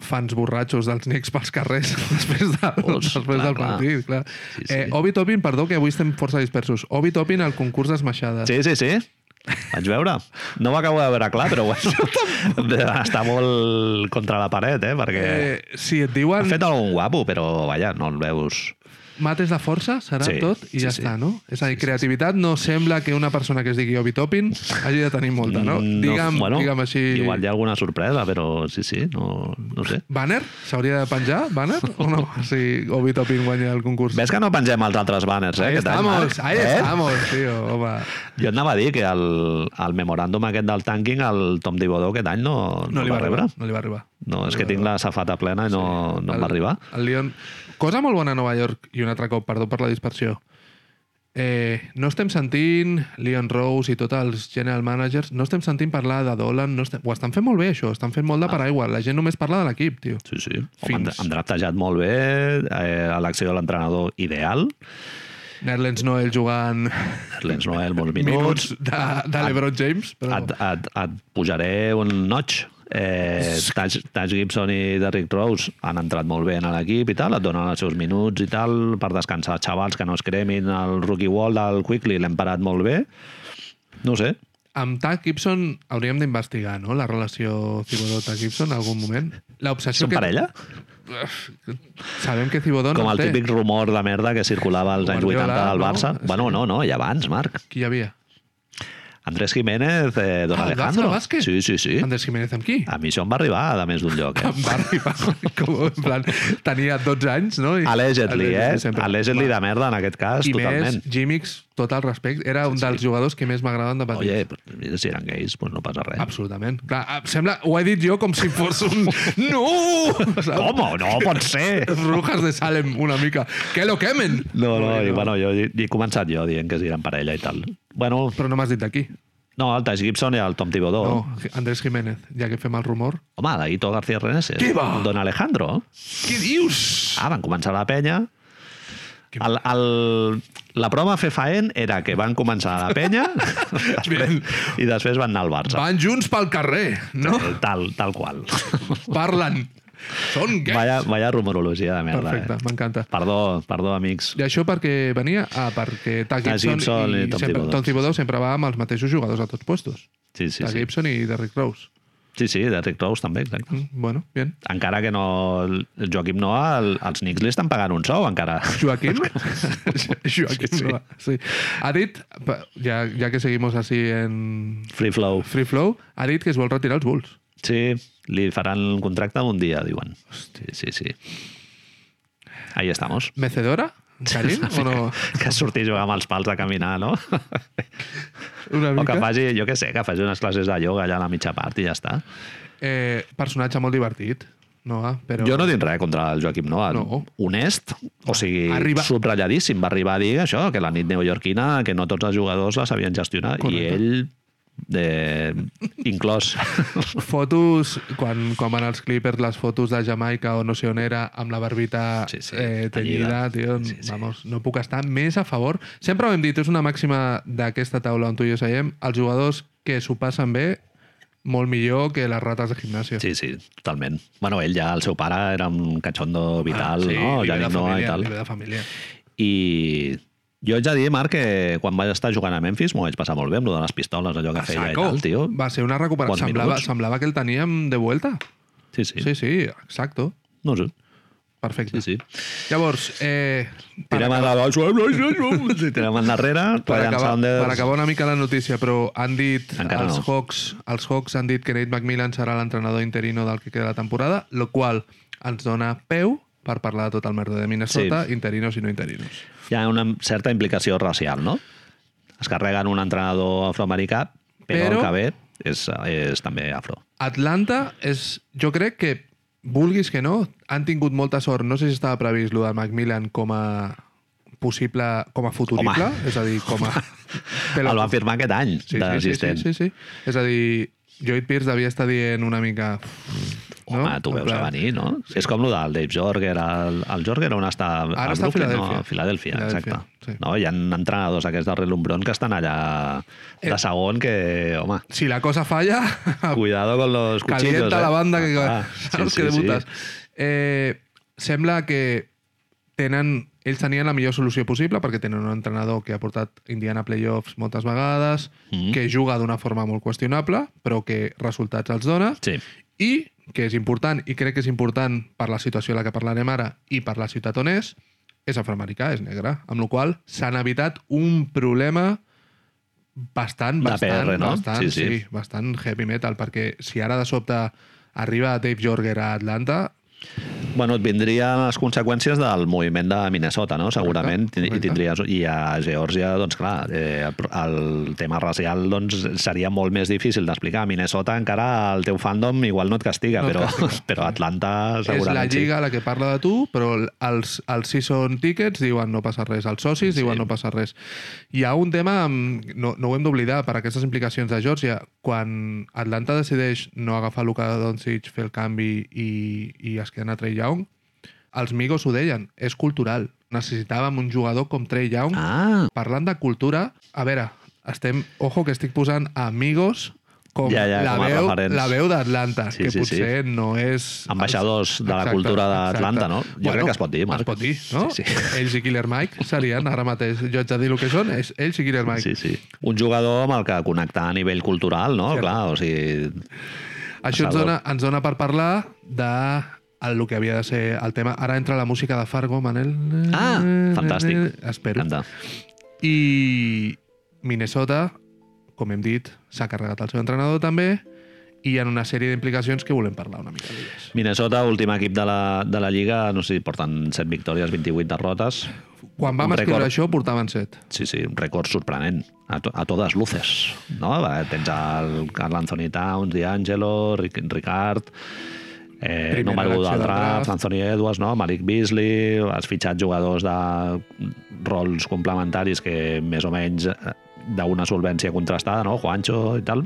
fans borratxos dels Knicks pels carrers després, de, Os, després clar, del partit, clar. Sí, Sí, sí. sí. Eh, Obi Topin, perdó, que avui estem força dispersos. Obi Topin al concurs d'esmaixades. Sí, sí, sí. Vaig veure. No m'acabo de veure clar, però bueno, està molt contra la paret, eh? Perquè eh, Eh, si et ha diuen fet algun guapo, però vaja, no el veus... mates de força, serà Sí, sí, tot, i sí, sí, ja sí. sí. està, no? És a dir, creativitat no sembla que una persona que es digui Obi Topin hagi de tenir molta, no? Digue'm, bueno, digue'm així... Mm, Igual hi ha alguna sorpresa, però sí, sí, no, no sé. Banner? S'hauria de penjar, Banner? O no? Si Obi Topin guanya el concurs. Ves que no pengem els altres banners, eh? Ahí aquest any, estamos, Marc? ahí Eh? estamos, tío, home. Jo et anava a dir que el, el memoràndum aquest del tanking, el Tom Dibodó aquest any no, no, no li va rebre. No li va arribar. No, és que tinc la safata plena i no, no em va arribar. El Lyon... Cosa molt bona a Nova York, i un altre cop, perdó per la dispersió. Eh, no estem sentint Leon Rose i tots els general managers, no estem sentint parlar de Dolan, no estem... ho estan fent molt bé això, estan fent Ah. molt de paraigua, la gent només parla de l'equip, tio. Sí, sí. Home, han, Fins- han draftejat molt bé, eh, elecció de l'entrenador ideal, Nerlens Noel jugant Lens Noel molts minuts, minuts de, de l'Ebron James, però... et, et, et pujaré un notch. Eh, Taj, Taj Gibson i Derrick Rose han entrat molt bé en l'equip i tal, et donen els seus minuts i tal per descansar xavals que no es cremin el rookie wall del Quickly l'hem parat molt bé no ho sé, Amb Tag Gibson hauríem d'investigar, no?, la relació Cibodó-Tag Gibson en algun moment. L'obsessió són parella? Sabem que Cibodó Com no el té. típic rumor de merda que circulava als anys Guardiola, 80 del no? Barça Sí. bueno, no, no, i abans, Marc Qui hi havia? Andrés Jiménez, eh, Don Ah, el Barça de Alejandro bàsquet? sí, sí, sí, Andrés Jiménez amb qui? a mi això em va arribar a més d'un lloc eh? Em va arribar, com, en plan, tenia 12 anys, no? I, Allegedly, eh? sempre. Allegedly de merda en aquest cas, I totalment. més, Jimix, tot el respecte, era un dels jugadors que més m'agraven de petit. Oye, pues, mira, si eren gais, pues no passa res. Absolutament. Clar, ah, sembla, ho he dit jo com si fos un... No! Saps? Com? No pot ser! Brujas de Salem, una mica. Que lo quemen! No, no, i bueno, jo he, he començat jo dient que si eren parella i tal. Bueno, Però no m'has dit d'aquí. no, el Taj Gibson i el Tom Thibodeau. No, Andrés Jiménez, ja que fem el rumor. Home, l'Aito García Reneses. Qui va? Don Alejandro. Què dius? Ah, van començar la penya. Que- El, el, la prova a fer faent era que van començar a la penya Bien. després, i després van anar al Barça. Van junts pel carrer, no? Eh, Tal, tal qual. Parlen. Són gais. Vaya, vaya rumorologia de merda. Perfecte, Eh? m'encanta. Perdó, perdó, amics. I això perquè venia? Ah, perquè Tag Tag Gibson, Gibson i, i Tom sempre, Thibodeau. Tom Thibodeau sempre va amb els mateixos jugadors a tots puestos. Sí, sí, Tag sí. Gibson i Derrick Rose. Sí, sí, Derrick Rose també, exacte. Mm, bueno, bien. Encara que no... El Joaquim Noah, el, els Knicks li estan pagant un sou, encara. Joaquim? Joaquim sí, Sí, sí. sí. sí. Ha dit, pa- ja, ja que seguimos así en Free flow. Free Flow, ha dit que es vol retirar els Bulls. Sí, li faran un contracte un dia, diuen. Sí, sí, sí. Ahí estamos. Mecedora? Callim? o no? Que surti a jugar amb els pals a caminar, no? Una O que mica. faci, jo què sé, que faci unes classes de ioga allà a la mitja part i ja està. Eh, personatge molt divertit, Noah, però... Jo no tinc res contra el Joaquim Noah. No. Honest, o sigui, Arriba- Arriba... subratlladíssim. Va arribar a dir això, que la nit neoyorquina, que no tots els jugadors la sabien gestionar. Correcte. I ell, eh, inclòs. Fotos, quan, quan van als Clippers, les fotos de Jamaica o no sé on era, amb la barbita Sí, sí, eh, tenyida. tenyida, tio, sí, Sí, sí. sí. Vamos, no puc estar més a favor. Sempre ho hem dit, és una màxima d'aquesta taula on tu i jo seiem, els jugadors que s'ho passen bé, molt millor que les rates de gimnàsia. Sí, sí, totalment. Bueno, ell ja, el seu pare era un cachondo vital, no? li ve Ja Ah, de no, i família, tal. li ve de família. I jo haig de dir, Marc, que quan vaig estar jugant a Memphis m'ho vaig passar molt bé amb lo de les pistoles, allò que feia i Saco. tal, tio. Va ser una recuperació. Bons Semblava, minuts. semblava que el teníem de vuelta. Sí, sí. Sí, sí, exacto. No ho sé. Perfecte. Sí, sí. Llavors, eh, per Tirem a la... Tirem endarrere, per Ryan acabar, Saunders... per acabar una mica la notícia, però han dit Encara els no. Hawks, els Hawks han dit que Nate McMillan serà l'entrenador interino del que queda la temporada, lo qual ens dona peu per parlar de tot el merda de Minnesota, sí. interinos i no interinos. Hi ha una certa implicació racial, no? Es carreguen un entrenador afroamericà, però, Però- el que ve és, és també afro. Atlanta és, jo crec que vulguis que no, han tingut molta sort. No sé si estava previst lo de Macmillan com a possible, com a futurible, Home. és a dir, com a... El va firmar aquest any sí, sí, sí, d'assistent. sí, sí. És a dir, Lloyd Pierce devia estar dient una mica... Home, no? tu En veus plan, a venir, no? Sí. És com el del Dave Jorger. El, el Jorger on està? Ara a està a Brooklyn, Filadèlfia. No, a Filadèlfia, Filadèlfia, exacte. sí. No, hi ha entrenadors aquests del Red Lumbron que estan allà Eh. de segon que, home, Si la cosa falla, cuidado con los cuchillos. Ah. calienta eh? la banda que, Ah, ah, saps que debutes. Sí. Eh, sembla que tenen, ells tenien la millor solució possible perquè tenen un entrenador que ha portat Indiana a playoffs moltes vegades, mm. Mhm. que juga d'una forma molt qüestionable, però que resultats els dona, Sí. i, que és important, i crec que és important per la situació a la que parlarem ara i per la ciutat on és, és afroamericà, és negre, amb la qual cosa s'han evitat un problema bastant, De bastant, PR, no? bastant, Sí, sí. sí, bastant heavy metal, perquè si ara de sobte arriba Dave Jorger a Atlanta, Bueno, et vindrien les conseqüències del moviment de Minnesota, no? Segurament. Correcte, correcte. I, tindries, I a Geòrgia, doncs clar, eh, el tema racial doncs, seria molt més difícil d'explicar. A Minnesota encara el teu fandom igual no et castiga, No et però, castiga. però a Atlanta És la segurament lliga la que parla de tu, però els, els season tickets diuen no passa res, els socis diuen no passa res. Hi ha un tema, amb- no, no ho hem d'oblidar, per aquestes implicacions de Georgia. Quan Atlanta decideix no agafar Luka Doncic, fer el canvi i, i es queden a Trey Young, els Migos ho deien, és cultural. Necessitàvem un jugador com Trey Young. sí. Ah, Parlant de cultura, a veure, estem... Ojo que estic posant Amigos com, Ja, ja, la, com a veu, referents. la veu d'Atlanta, Sí, que sí, sí. potser no és... Ambaixadors de la cultura d'Atlanta, no? Jo crec que es pot dir, Marc. Es pot dir, no? Sí, Sí, sí. sí. Ells i Killer Mike serien ara mateix, jo haig de dir el que són, és ells i Killer sí, Mike. sí. Un jugador amb el que connectar a nivell cultural, no? Cert. Clar, o sigui... Això ens Salvador. dona, ens dona per parlar de el que havia de ser el tema. Ara entra la música de Fargo, Manel. Ah, fantàstic. Espero. Canta. I Minnesota, com hem dit, s'ha carregat el seu entrenador també i hi ha una sèrie d'implicacions que volem parlar una mica d'elles. Minnesota, últim equip de la, de la Lliga, no sé si porten 7 victòries, 28 derrotes. Quan vam Un escriure record. això portaven set. Sí, sí, un rècord sorprenent, a, to, a totes luces. No? Va, Tens el Carl Anthony Towns, D'Angelo, Ric, Ricard, eh, Primera número un elecció del del draft, draft. Anthony Edwards, no? Malik Beasley, has fitxat jugadors de rols complementaris que més o menys eh, d'una solvència contrastada, no? Juancho i tal.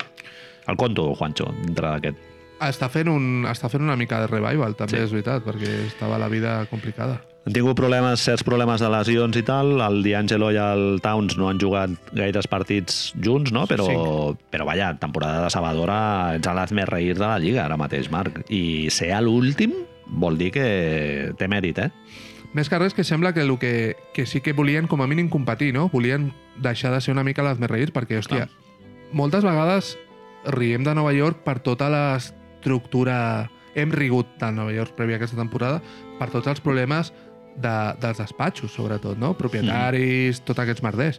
El conto, Juancho, dintre d'aquest. Està fent, un, està fent una mica de revival, també Sí. sí. és veritat, perquè estava la vida complicada. Han tingut problemes, certs problemes de lesions i tal. El D'Angelo i el Towns no han jugat gaires partits junts, no? Però, però vaja, temporada de Sabadora ets a l'hazme reir de la Lliga ara mateix, Marc. I ser a l'últim vol dir que té mèrit, eh? Més que res que sembla que, el que, que sí que volien com a mínim competir, no? Volien deixar de ser una mica les més reïrs perquè, hòstia, moltes vegades riem de Nova York per tota l'estructura... Hem rigut de Nova York prèvia a aquesta temporada per tots els problemes de, dels despatxos, sobretot, no? Propietaris, mm. tots aquests merders.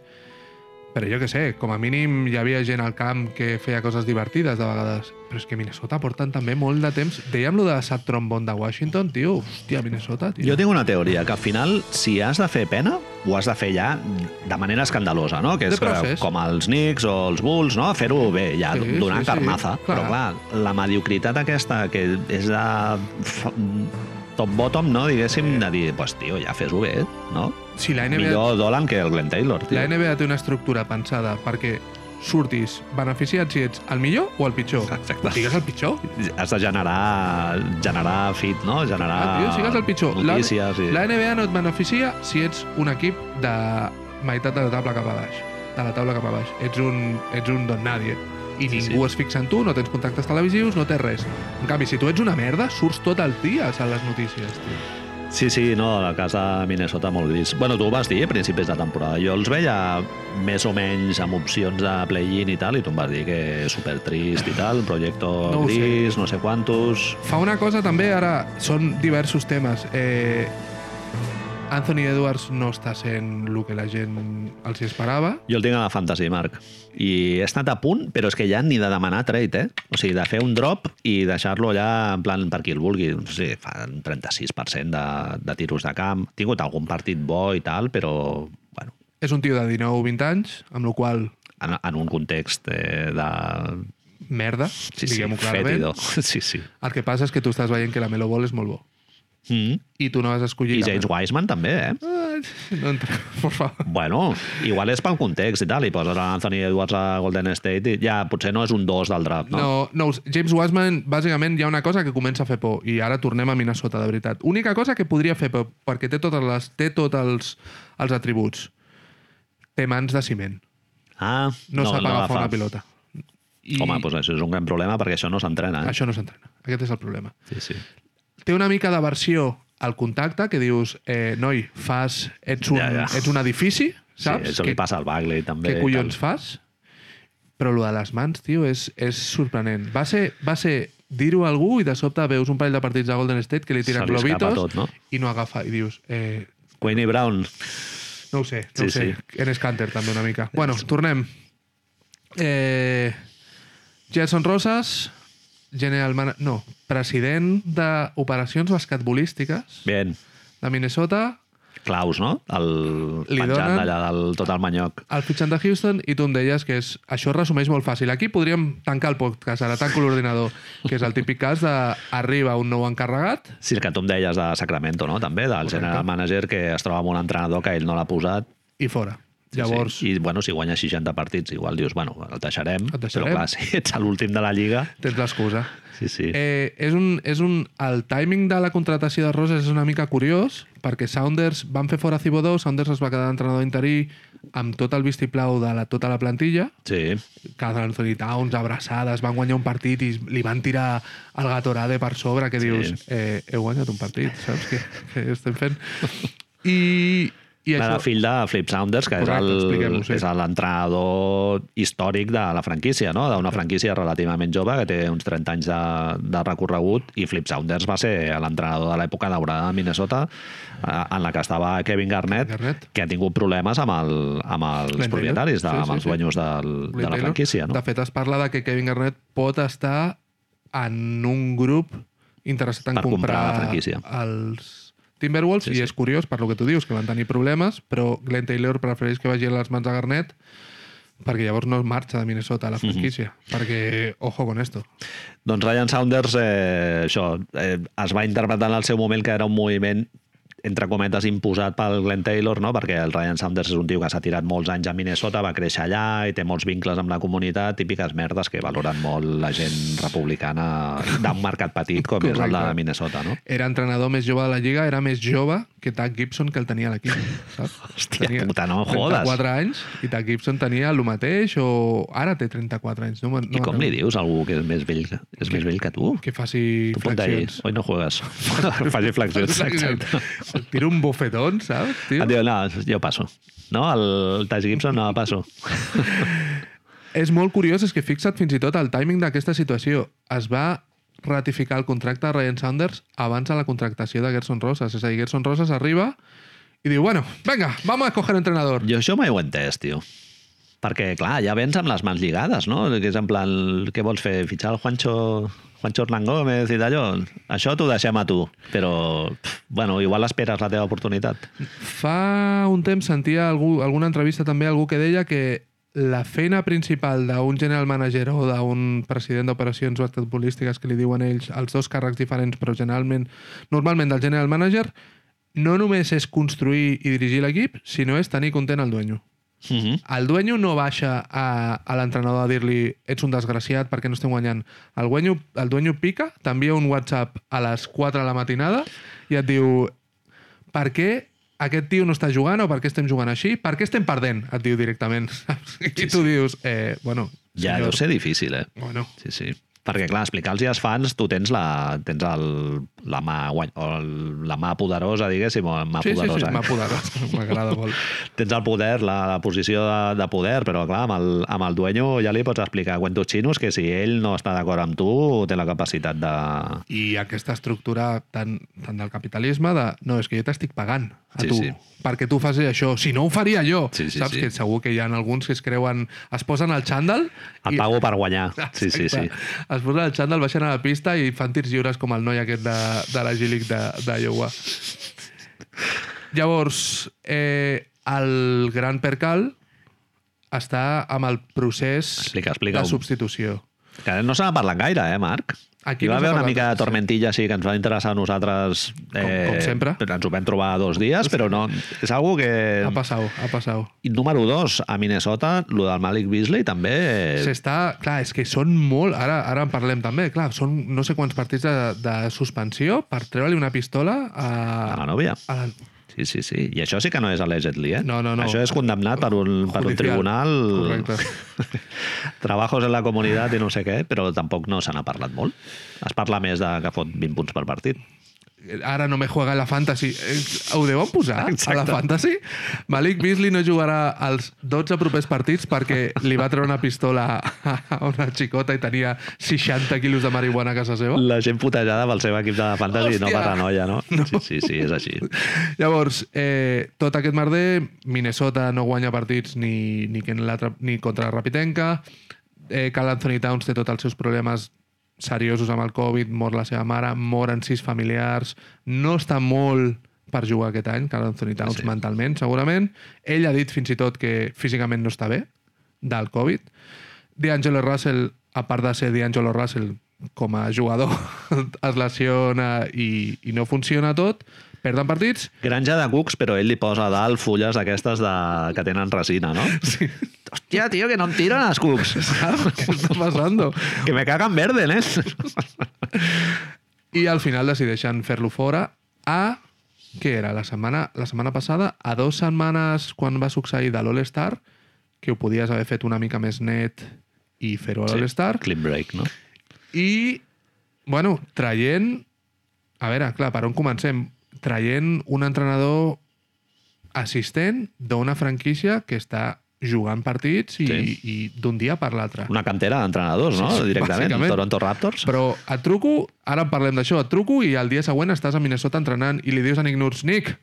Però jo que sé, com a mínim hi havia gent al camp que feia coses divertides de vegades. Però és que Minnesota porten també molt de temps. Dèiem lo de Sat Trombon de Washington, tio. Hòstia, Minnesota, tio. Jo tinc una teoria, que al final, si has de fer pena, ho has de fer ja de manera escandalosa, no? Que De és que, procés. com els Knicks o els Bulls, no? Fer-ho bé, ja, Sí, sí, donar sí, sí, sí, carnaza. clar. Sí, Però, clar, la mediocritat aquesta, que és de f- top-bottom, no? Diguéssim, de dir, pues, tio, ja fes-ho bé, no? Si la NBA, Millor Dolan que el Glenn Taylor, tio. la NBA té una estructura pensada perquè surtis beneficiat si ets el millor o el pitjor. Exacte. Ah, Digues el pitjor. Has de generar, generar fit, no? Generar Ah, tio, sigues el pitjor. La, notícies. i... la NBA no et beneficia si ets un equip de meitat de la taula cap a baix. De la taula cap a baix. Ets un, ets un don nadie. I Sí, ningú es fixa en tu, no tens contactes televisius, no tens res. En canvi, si tu ets una merda, surts tot el dia a les notícies, tio. Sí, sí, no, la casa de Minnesota molt vist. Bueno, tu ho vas dir a principis de temporada. Jo els veia més o menys amb opcions de play-in i tal, i tu em vas dir que super trist i tal, projecte No no ho sé. gris, no sé quantos... Fa una cosa també, ara són diversos temes. Eh, Anthony Edwards no està sent el que la gent els hi esperava. Jo el tinc a la fantasy, Marc. I he estat a punt, però és que ja ni de demanar trade, eh? O sigui, de fer un drop i deixar-lo allà en plan per qui el vulgui. No sé, fa un 36% de, de tiros de camp. He tingut algun partit bo i tal, però, bueno, És un tio de 19-20 anys, amb la qual en, en un context eh, de... merda, Sí, sí, diguem-ho clarament. fétido. Sí, sí. El que passa és que tu estàs veient que la Melo Ball és molt bo. Mm. I Mm. tu no vas escollir... I la James Melo. Wiseman també, eh? Ai, No entra, por favor. Bueno, igual és pel context i tal, i poses a Anthony Edwards a Golden State i ja potser no és un 2 del draft, no? No, no, James Wiseman, bàsicament, hi ha una cosa que comença a fer por, i ara tornem a Minnesota, de veritat. Única cosa que podria fer por, perquè té totes les, té tots els, els atributs. Té mans de ciment. Ah, no, no sap agafar agafa. una pilota. I Home, doncs això és un gran problema perquè això no s'entrena, eh? això no s'entrena. Aquest és el problema. Sí, sí. Té una mica d'aversió al contacte, que dius, eh, noi, fas, ets, un, Ja, ja. ets un edifici, Saps? saps? Sí, això Què- li passa al Bagley també. Què i collons tal. fas? Però lo de les mans, tio, és, és sorprenent. Va ser, va ser dir-ho a algú i de sobte veus un parell de partits de Golden State que li tiren Se li escapa globitos tot, no? i no agafa. I dius, eh, Queenie Brown, no ho sé, no Sí, ho sé. Sí. En Scanter també una mica. Bueno, tornem. Eh, Gerson Roses general man... no, president d'operacions basquetbolístiques Bien. de Minnesota, Claus, no? El Li penjat donen- d'allà del tot el manyoc. el fitxen de Houston i tu em deies que és, això es resumeix molt fàcil. Aquí podríem tancar el podcast, ara tanco l'ordinador, que és el típic cas d'arriba un nou encarregat, Sí, el que tu em deies de Sacramento, no? També, del general manager que es troba amb un entrenador que ell no l'ha posat. i fora. Sí, Llavors, Sí. I, bueno, si guanyes 60 partits, igual dius, bueno, el deixarem. Et deixarem. Però, clar, si ets l'últim de la Lliga... tens l'excusa. Sí, sí. Eh, Eh, és un, és un, el timing de la contratació de Roses és una mica curiós, perquè Saunders van fer fora Cibodó, Saunders es va quedar d'entrenador interí amb tot el vistiplau de la, tota la plantilla, sí. Carl Anthony Towns, abraçades, van guanyar un partit i li van tirar el Gatorade per sobre, que dius, eh, heu guanyat un partit, saps què, què estem fent? I, i Clar, això... el fill de Flip Saunders, que Correcte, és el- expliquem-ho, sí. és l'entrenador històric de la franquícia, no? d'una franquícia relativament jove que té uns 30 anys de, de recorregut i Flip Saunders va ser l'entrenador de l'època daurada de Minnesota eh, en la que estava Kevin Garnett, Garnett. que ha tingut problemes amb, el, amb els Glenn Taylor. propietaris, de, Sí, sí, amb els sí. dueños del, de la Taylor. franquícia. No? De fet, es parla de que Kevin Garnett pot estar en un grup interessat Per en comprar comprar, la franquícia. els Timberwolves, i és curiós per lo que tu dius, que van tenir problemes, però Glenn Taylor prefereix que vagi a les mans de Garnett perquè llavors no es marxa de Minnesota a Mhm. la franquícia, perquè ojo con esto. Doncs Ryan Saunders, eh, això, eh, es va interpretar en el seu moment que era un moviment entre cometes imposat pel Glenn Taylor, no? perquè el Ryan Saunders és un tio que s'ha tirat molts anys a Minnesota, va créixer allà i té molts vincles amb la comunitat, típiques merdes que valoren molt la gent republicana d'un mercat petit com és el de Correcte. Minnesota. No? Era entrenador més jove de la Lliga, era més jove que Doug Gibson que el tenia a l'equip, saps? Hòstia puta, no jodes. 34 anys i Doug Gibson tenia el mateix o ara té 34 anys. No, me'n- no I com me'n li dius a algú que és més vell que, és més vell que tu? que faci Tu pot dir, flexions. oi no juegues. Faci flexions, exacte. Et Tira un bofetón, saps, tio? Et diu, no, jo passo. No, el Taj Gibson, no, passo. És molt curiós, és que fixa't fins i tot el timing d'aquesta situació. Es va ratificar el contracte de Ryan Sanders abans de la contractació de Gerson Roses. És a dir, Gerson Roses arriba i diu, bueno, venga, vamos a coger entrenador. Jo això mai ho he entès, tio. Perquè, clar, ja vens amb les mans lligades, no? Que és en plan, què vols fer? Fitxar el Juancho, Juancho Hernán Gómez i d'allò? Això t'ho deixem a tu. Però, pff, bueno, igual esperes la teva oportunitat. Fa un temps sentia algú, alguna entrevista també algú que deia que la feina principal d'un general manager o d'un president d'operacions basquetbolístiques que li diuen ells els dos càrrecs diferents, però generalment normalment del general manager no només és construir i dirigir l'equip, sinó és tenir content el dueño. Uh -huh. El dueño no baixa a, a l'entrenador a dir-li ets un desgraciat perquè no estem guanyant. El dueño, el dueño pica, t'envia un WhatsApp a les 4 de la matinada i et diu per què aquest tio no està jugant o per què estem jugant així? Per què estem perdent? Et diu directament. Saps? I tu dius, eh, bueno, Ja deu ser difícil, eh? Bueno, Sí, sí. Perquè, clar, explicar-los als fans, tu tens la, tens el, la, mà, guany, o el, la mà poderosa, diguéssim, o mà sí, sí, poderosa. sí, eh? m'ha poderosa. M'agrada molt. tens el poder, la, la posició de, de poder, però clar, amb el, amb el dueño ja li pots explicar a cuentos xinos que si ell no està d'acord amb tu, té la capacitat de... I aquesta estructura tant, tant del capitalisme de no, és que jo t'estic pagant a Sí, tu sí. perquè tu facis això, si no ho faria jo. Sí, sí, Saps sí. que segur que hi ha alguns que es creuen, es posen al xandall Et pago per guanyar. Sí, sí, sí. Exacte. Es posen al xandall, baixen a la pista i fan tirs lliures com el noi aquest de, de la G-League de- d'Iowa. Llavors, eh, el gran percal està amb el procés Explica, explica-ho. de substitució. Que no se n'ha parlat gaire, eh, Marc? Hi Aquí va no s'ha haver una parlat mica de gaire, sí. tormentilla sí, que ens va interessar a nosaltres. com sempre. però Ens ho vam trobar dos dies, però no... És algo que... Ha passat, ha passat. I número dos, a Minnesota, lo del Malik Beasley també... S'està... Clar, és que són molt... Ara, ara en parlem també, clar. Són no sé quants partits de, de suspensió per treure-li una pistola a... A la nòvia. a la... Sí, sí, sí. I això sí que no és allegedly, eh? No, no, no. Això és condemnat per un, per un Judicial. tribunal... Correcte. Trabajos en la comunitat i no sé què, però tampoc no se n'ha parlat molt. Es parla més de que fot 20 punts per partit. Ara no me juega a la fantasy. Eh, Ho deuen posar a la Exacte. fantasy? Malik Beasley no jugarà els 12 propers partits perquè li va treure una pistola a una xicota i tenia 60 quilos de marihuana a casa seva. La gent putejada pel seu equip de fantasy, no Oh. Hòstia! per la noia, no? Sí, sí, sí, és així. Llavors, eh, tot aquest merder, Minnesota no guanya partits ni, ni, que en l'altre- ni contra la Rapitenca, eh, Cal Anthony Towns té tots els seus problemes seriosos amb el Covid, mor la seva mare, moren sis familiars, no està molt per jugar aquest any, Carl Anthony Towns, Sí. sí. mentalment, segurament. Ell ha dit fins i tot que físicament no està bé, del Covid. D'Angelo Russell, a part de ser D'Angelo Russell com a jugador, es lesiona i, i no funciona tot, perden partits, Granja de cucs, però ell li posa a dalt fulles aquestes de... que tenen resina, no? Sí. Hòstia, tio, que no em tiren els cucs. Què està passant? que me cagan verde, eh? I al final decideixen fer-lo fora a... Què era? La setmana, la setmana passada? A dues setmanes quan va succeir de l'All-Star, que ho podies haver fet una mica més net i fer-ho a l'All-Star. Clean break, no? I, bueno, traient... A veure, clar, per on comencem? Traient un entrenador assistent d'una franquícia que està jugant partits i, Sí. i d'un dia per l'altre. Una cantera d'entrenadors, no? Sí, sí, Directament. bàsicament. Toronto Raptors. Però et truco, ara en parlem d'això, et truco i al dia següent estàs a Minnesota entrenant i li dius a Nick Nurse, Nick,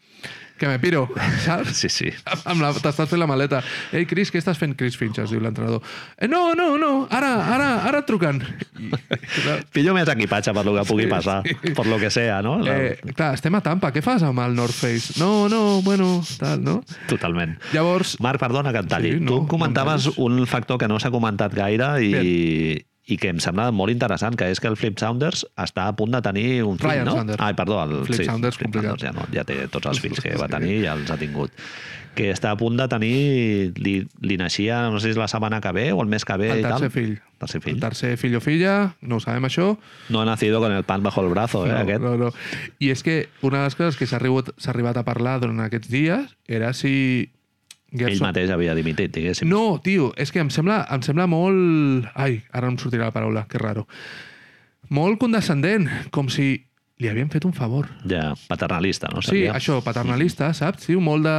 que me piro, saps? Sí, sí. Amb la, t'estàs fent la maleta. Ei, Chris, què estàs fent? Chris Finch, es diu l'entrenador. Eh, no, no, no, ara, ara, ara et truquen. I, clar, Pillo més equipatge per lo que pugui Sí, passar, sí. per lo que sea, no? eh, clar, estem a Tampa, què fas amb el North Face? No, no, bueno, tal, no? Totalment. Llavors, Marc, perdona que em talli. Sí, Sí, no, no, tu em comentaves no no un factor que no s'ha comentat gaire i, i que em sembla molt interessant, que és que el Flip Sounders està a punt de tenir un fill, Ryan no? Saunders. Ai, perdó, el Flip Saunders, complicat. ja, no, ja té tots els fills que va Sí. tenir i ja els ha tingut. Que està a punt de tenir... Li, li naixia, no sé si és la setmana que ve o el mes que ve el i tal. tercer fill. Tercer El fill. tercer fill o filla, no ho sabem això, No ha nacido con el pan bajo el brazo, eh, no, aquest. No, no. I és que una de les coses que s'ha arribat, s'ha arribat a parlar durant aquests dies era si... Ell Gerson- mateix havia dimitit, diguéssim. No, tio, és que em sembla, em sembla molt... Ai, ara no em sortirà la paraula, que raro. Molt condescendent, com si li havien fet un favor. Ja, paternalista, no? Sí, Seria. això, paternalista, saps? Tio, molt de...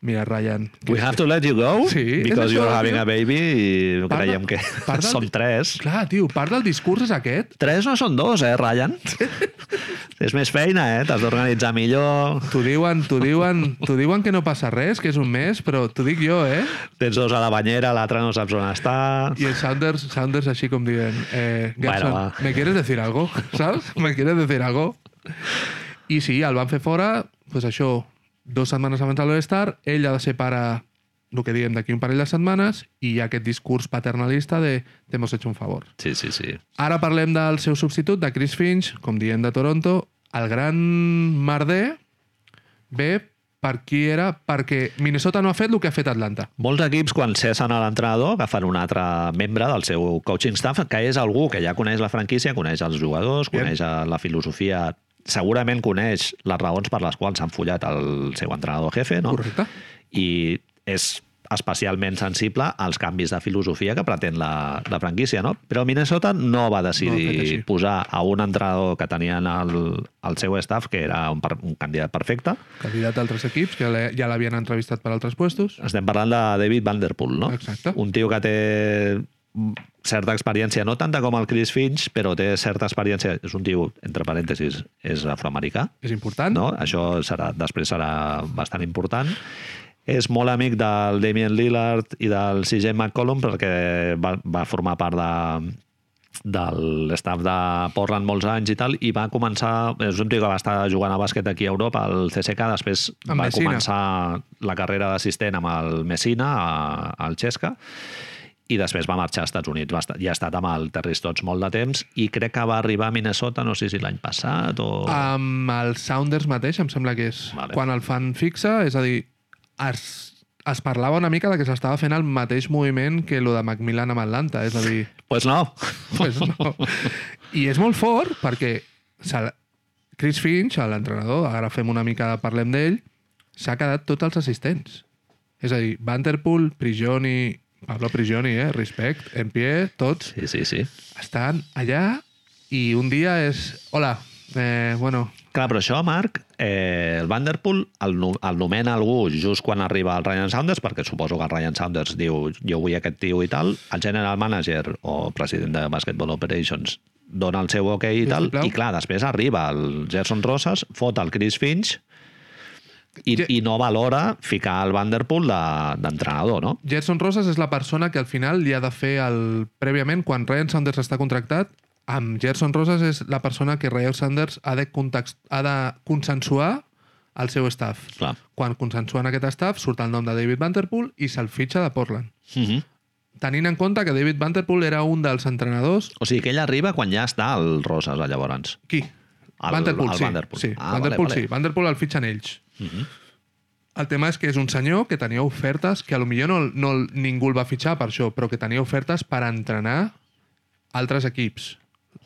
Mira, Ryan... We have to let you go Sí, because és això, you're having tio. a baby i Parla- creiem que parla- som tres. Clar, tio, part del discurs és aquest. Tres no són dos, eh, Ryan? és més feina, eh? T'has d'organitzar millor. T'ho diuen, t'ho diuen, t'ho diuen que no passa res, que és un mes, però t'ho dic jo, eh? Tens dos a la banyera, l'altre no saps on està. Y el Sanders, Sanders así como dicen, eh, Gerson, Bueno, va. ¿me quieres decir algo? ¿Sabes? ¿Me quieres decir algo? I sí, el van fer fora, pues això, dues setmanes abans de l'All-Star, ell ha de ser pare, el que diem, d'aquí un parell de setmanes, i hi ha aquest discurs paternalista de t'hemos hecho un favor. Sí, sí, sí. Ara parlem del seu substitut, de Chris Finch, com diem de Toronto, el gran merder ve per qui era, perquè Minnesota no ha fet el que ha fet Atlanta. Molts equips, quan cessen a l'entrenador, agafen un altre membre del seu coaching staff, que és algú que ja coneix la franquícia, coneix els jugadors, Bien. coneix eh, la filosofia, segurament coneix les raons per les quals s'han follat el seu entrenador jefe, no? Correcte? i és especialment sensible als canvis de filosofia que pretén la, la franquícia, no? Però Minnesota no va No ha fet decidir així. no posar a un entrenador que tenien al, al seu staff, que era un, per, un candidat perfecte. candidat d'altres equips que l'he- ja l'havien entrevistat per altres puestos. Estem parlant de David Vanderpool, no? Exacte. Un tio que té certa experiència, no tanta com el Chris Finch, però té certa experiència, és un tio, entre parèntesis, és afroamericà, És important. no? Això serà, després serà bastant important. És molt amic del Damien Lillard i del CJ McCollum perquè va, va formar part de, del staff de Portland molts anys i tal, i va començar, és un tio que va estar jugant a bàsquet aquí a Europa, al CSK, després Amb va Messina. començar la carrera d'assistent amb el Messina, a, al Xesca, i després va marxar als Estats Units. Va estar, ja ha estat amb el Terry Stotts molt de temps i crec que va arribar a Minnesota, no sé si l'any passat o... Amb el Sounders mateix, em sembla que és Vale. quan el fan fixa, és a dir, es, es parlava una mica de que s'estava fent el mateix moviment que lo de Macmillan amb Atlanta, és a dir, Pues no. pues no. I és molt fort perquè se- Chris Finch, l'entrenador, ara fem una mica, parlem d'ell, s'ha quedat tots els assistents. És a dir, Vanderpool, Prigioni, Pablo Prigioni, eh? Respect, en pie, tots. Sí, sí, sí. estan allà i un dia és... Hola, eh, bueno, Clar, però això, Marc, eh, el Vanderpool el, no- el nomena algú just quan arriba el Ryan Saunders, perquè suposo que el Ryan Saunders diu jo vull aquest tio i tal, el general manager o president de Basketball Operations dona el seu ok i tal, Sisplau. i clar, després arriba el Gerson Rosas, fot el Chris Finch i, Ja- i no valora ficar el Vanderpool de- d'entrenador, no? Gerson Rosas és la persona que al final li ha de fer el... Prèviament, quan Ryan Saunders està contractat, amb Gerson Roses és la persona que Rayo Sanders ha de, context, ha de consensuar el seu staff. Clar. Quan consensuen aquest staff, surt el nom de David Vanderpool i se'l fitxa de Portland. Mm -hmm. Tenint en compte que David Vanderpool era un dels entrenadors... O sigui que ell arriba quan ja està el Roses, eh, llavors. Qui? El- el sí. Vanderpool. Sí, Ah, ah, vale, Mhm. Vanderpool vale. sí. Vanderpool el fitxen ells. El tema és que és un senyor que tenia ofertes, que a lo millor no, no ningú el va fitxar per això, però que tenia ofertes per entrenar altres equips.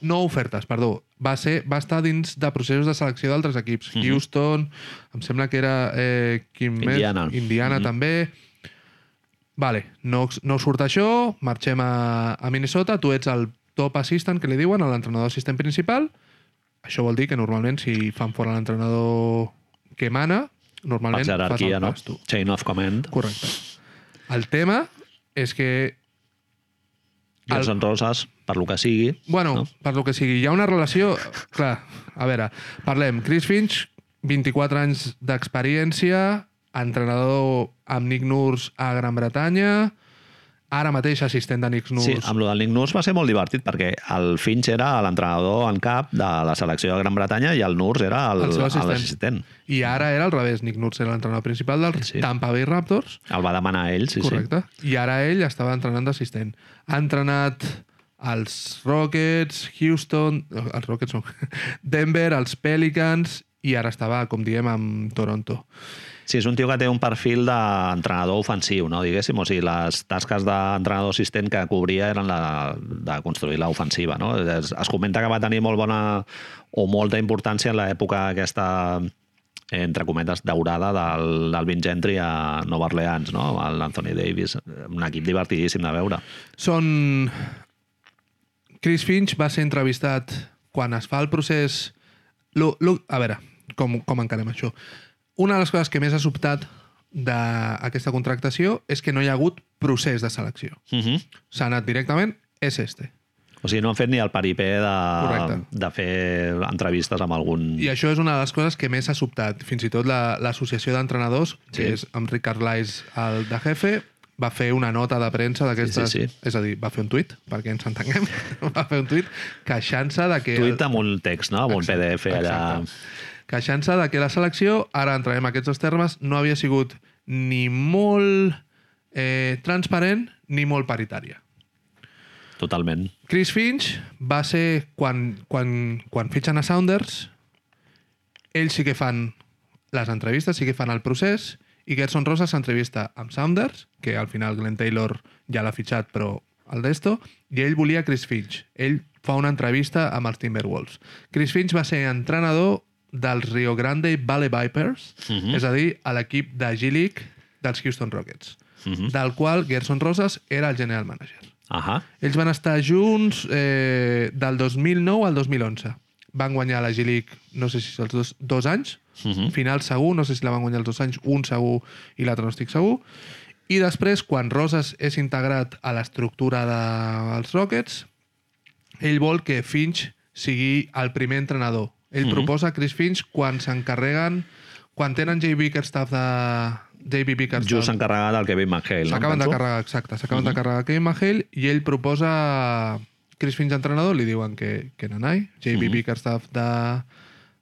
No ofertes, perdó. Va, ser, va estar dins de processos de selecció d'altres equips. Mhm. Mm -hmm. Houston, em sembla que era... Eh, quin més? Indiana. Mhm. Indiana mm -hmm. també. Vale, no, no surt això, marxem a, a Minnesota, tu ets el top assistant que li diuen, a l'entrenador assistent principal. Això vol dir que normalment si fan fora l'entrenador que mana, Per normalment fas jerarquia, el no? pas tu. Chain of command. Correcte. El tema és que, Gerson Roses, per lo que sigui, bueno, no. per lo que sigui, hi ha una relació... Clar, a veure, parlem. Chris Finch, 24 anys d'experiència, entrenador amb Nick Nurse a Gran Bretanya, ara mateix assistent de Nick Nurse. Sí, amb el del Nick Nurse va ser molt divertit perquè el Finch era l'entrenador en cap de la selecció de Gran Bretanya i el Nurse era el- El seu assistent. l'assistent. I ara era al revés. Nick Nurse era l'entrenador principal dels Sí. sí. Tampa Bay Raptors. El, va demanar a ell, sí, Sí, correcte. Sí. I ara ell estava entrenant d'assistent. Ha entrenat als Rockets, Houston... Els Rockets no. Denver, els Pelicans i ara estava, com diem, amb Toronto. sí. Sí, és un tio que té un perfil d'entrenador ofensiu, no? diguéssim. O sigui, les tasques d'entrenador assistent que cobria eren la, de construir l'ofensiva. No? Es, es comenta que va tenir molt bona o molta importància en l'època aquesta eh, entre cometes, daurada del, del Vin Gentry a Nova Orleans, no? amb l'Anthony Davis. Un equip divertidíssim de veure. Són... Chris Finch va ser entrevistat quan es fa el procés... Lo, lo... A veure, com, com encarem això? Una de les coses que més ha sobtat d'aquesta contractació és que no hi ha hagut procés de selecció. Uh -huh. S'ha anat directament, és este. O sigui, no han fet ni el peripé de, Correcte. de fer entrevistes amb algun... I això és una de les coses que més ha sobtat. Fins i tot la- l'associació la, d'entrenadors, sí. Sí. que és amb Ricard Lais, el de jefe, va fer una nota de premsa d'aquestes... Sí, sí, sí. És a dir, va fer un tuit, perquè ens entenguem, va fer un tuit queixant-se de que... Tuit amb un text, no? Amb un Exacte, PDF allà... exacte. Queixant-se de que la selecció, ara entrarem en aquests dos termes, no havia sigut ni molt eh, transparent ni molt paritària. Totalment. Chris Finch va ser quan, quan, quan fitxen a Sounders ells sí que fan les entrevistes, sí que fan el procés i Gerson Rosa s'entrevista amb Sounders que al final Glenn Taylor ja l'ha fitxat però el d'esto i ell volia Chris Finch ell fa una entrevista amb els Timberwolves Chris Finch va ser entrenador dels Rio Grande Valley Vipers Mhm. és a dir, a l'equip de G-League dels Houston Rockets Mhm. del qual Gerson Rosas era el general manager Ahà. ells van estar junts eh, del 2009 al 2011. Van guanyar la G-League, no sé si els dos, dos anys, Uh -huh. final segur, no sé si la van guanyar els dos anys, un segur i l'altre no estic segur. I després, quan Roses és integrat a l'estructura dels Rockets, ell vol que Finch sigui el primer entrenador. Ell mm -hmm. proposa Chris Finch quan s'encarreguen, quan tenen J. Bickerstaff de... J.B. Bickerstaff. Just encarregat del Kevin McHale, no? S'acaben de Penso. carregar, exacte. S'acaben de carregar Kevin Mahill i ell proposa Chris Finch entrenador, li diuen que, que n'anai, JB Bickerstaff de,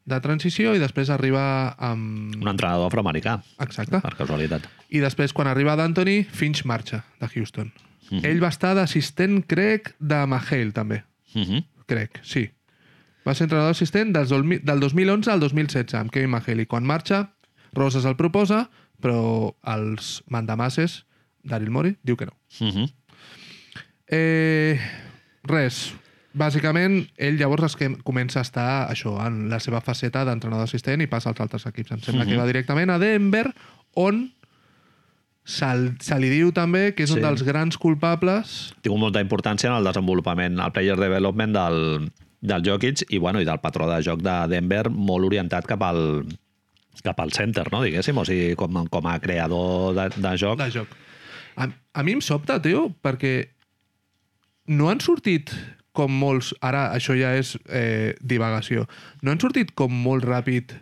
de transició i després arriba amb... Un entrenador afroamericà, Exacte. per casualitat. I després, quan arriba d'Anthony, Finch marxa de Houston. Ell va estar d'assistent, crec, de Mahill, també. Uh -huh. Crec, sí. Va ser entrenador assistent des del, mi- del 2011 al 2016 amb Kevin Mahill i quan marxa, Roses el proposa, però els mandamasses, Daryl Mori, diu que no. Uh -huh. Eh, res. Bàsicament, ell llavors es que comença a estar això, en la seva faceta d'entrenador assistent i passa als altres equips. Em sembla que va directament a Denver, on se'l- se li diu també que és sí. Sí. un dels grans culpables Tingut molta importància en el desenvolupament, el player development del, del Jokic i, bueno, i del patró de joc de Denver molt orientat cap al cap al center, no? diguéssim, o sigui, com, com a creador de, de joc. de joc. A, a mi em sobta, tio, perquè no han sortit com molts... Ara, això ja és eh, divagació. No han sortit com molt ràpid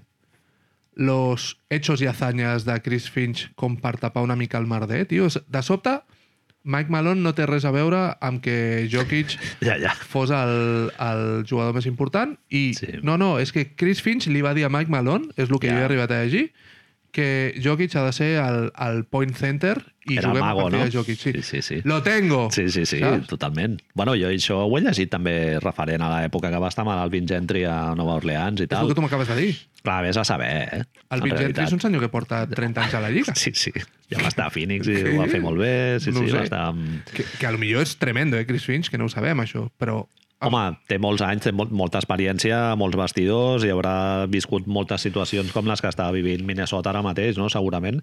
los hechos y hazañas de Chris Finch com per tapar una mica el merder, tio. És- De sobte, Mike Malone no té res a veure amb que Jokic Ja, ja. fos el, el jugador més important i Sí. sí. no, no, és que Chris Finch li va dir a Mike Malone, és el que Ja. yeah. jo he arribat a llegir, que Jokic ha de ser el, el point center i Era juguem mago, a partir no? de Jokic. Sí. Sí, sí, sí. Lo tengo! Sí, sí, sí, Saps? totalment. Bueno, jo això ho he llegit també referent a l'època que va estar amb el Vincentri a Nova Orleans i És el tal. que tu m'acabes de dir. Clar, vés a saber, eh? El En Vincent realitat. és un senyor que porta 30 anys a la Lliga. Sí, sí. Ja va estar a Phoenix i Sí? ho va fer molt bé. Sí, No sí, ho va sé. estar... amb- Que, que a lo millor és tremendo, eh, Chris Finch, que no ho sabem, això. Però Home, té molts anys, té molt, molta experiència, molts vestidors i haurà viscut moltes situacions com les que està vivint Minnesota ara mateix, no? segurament.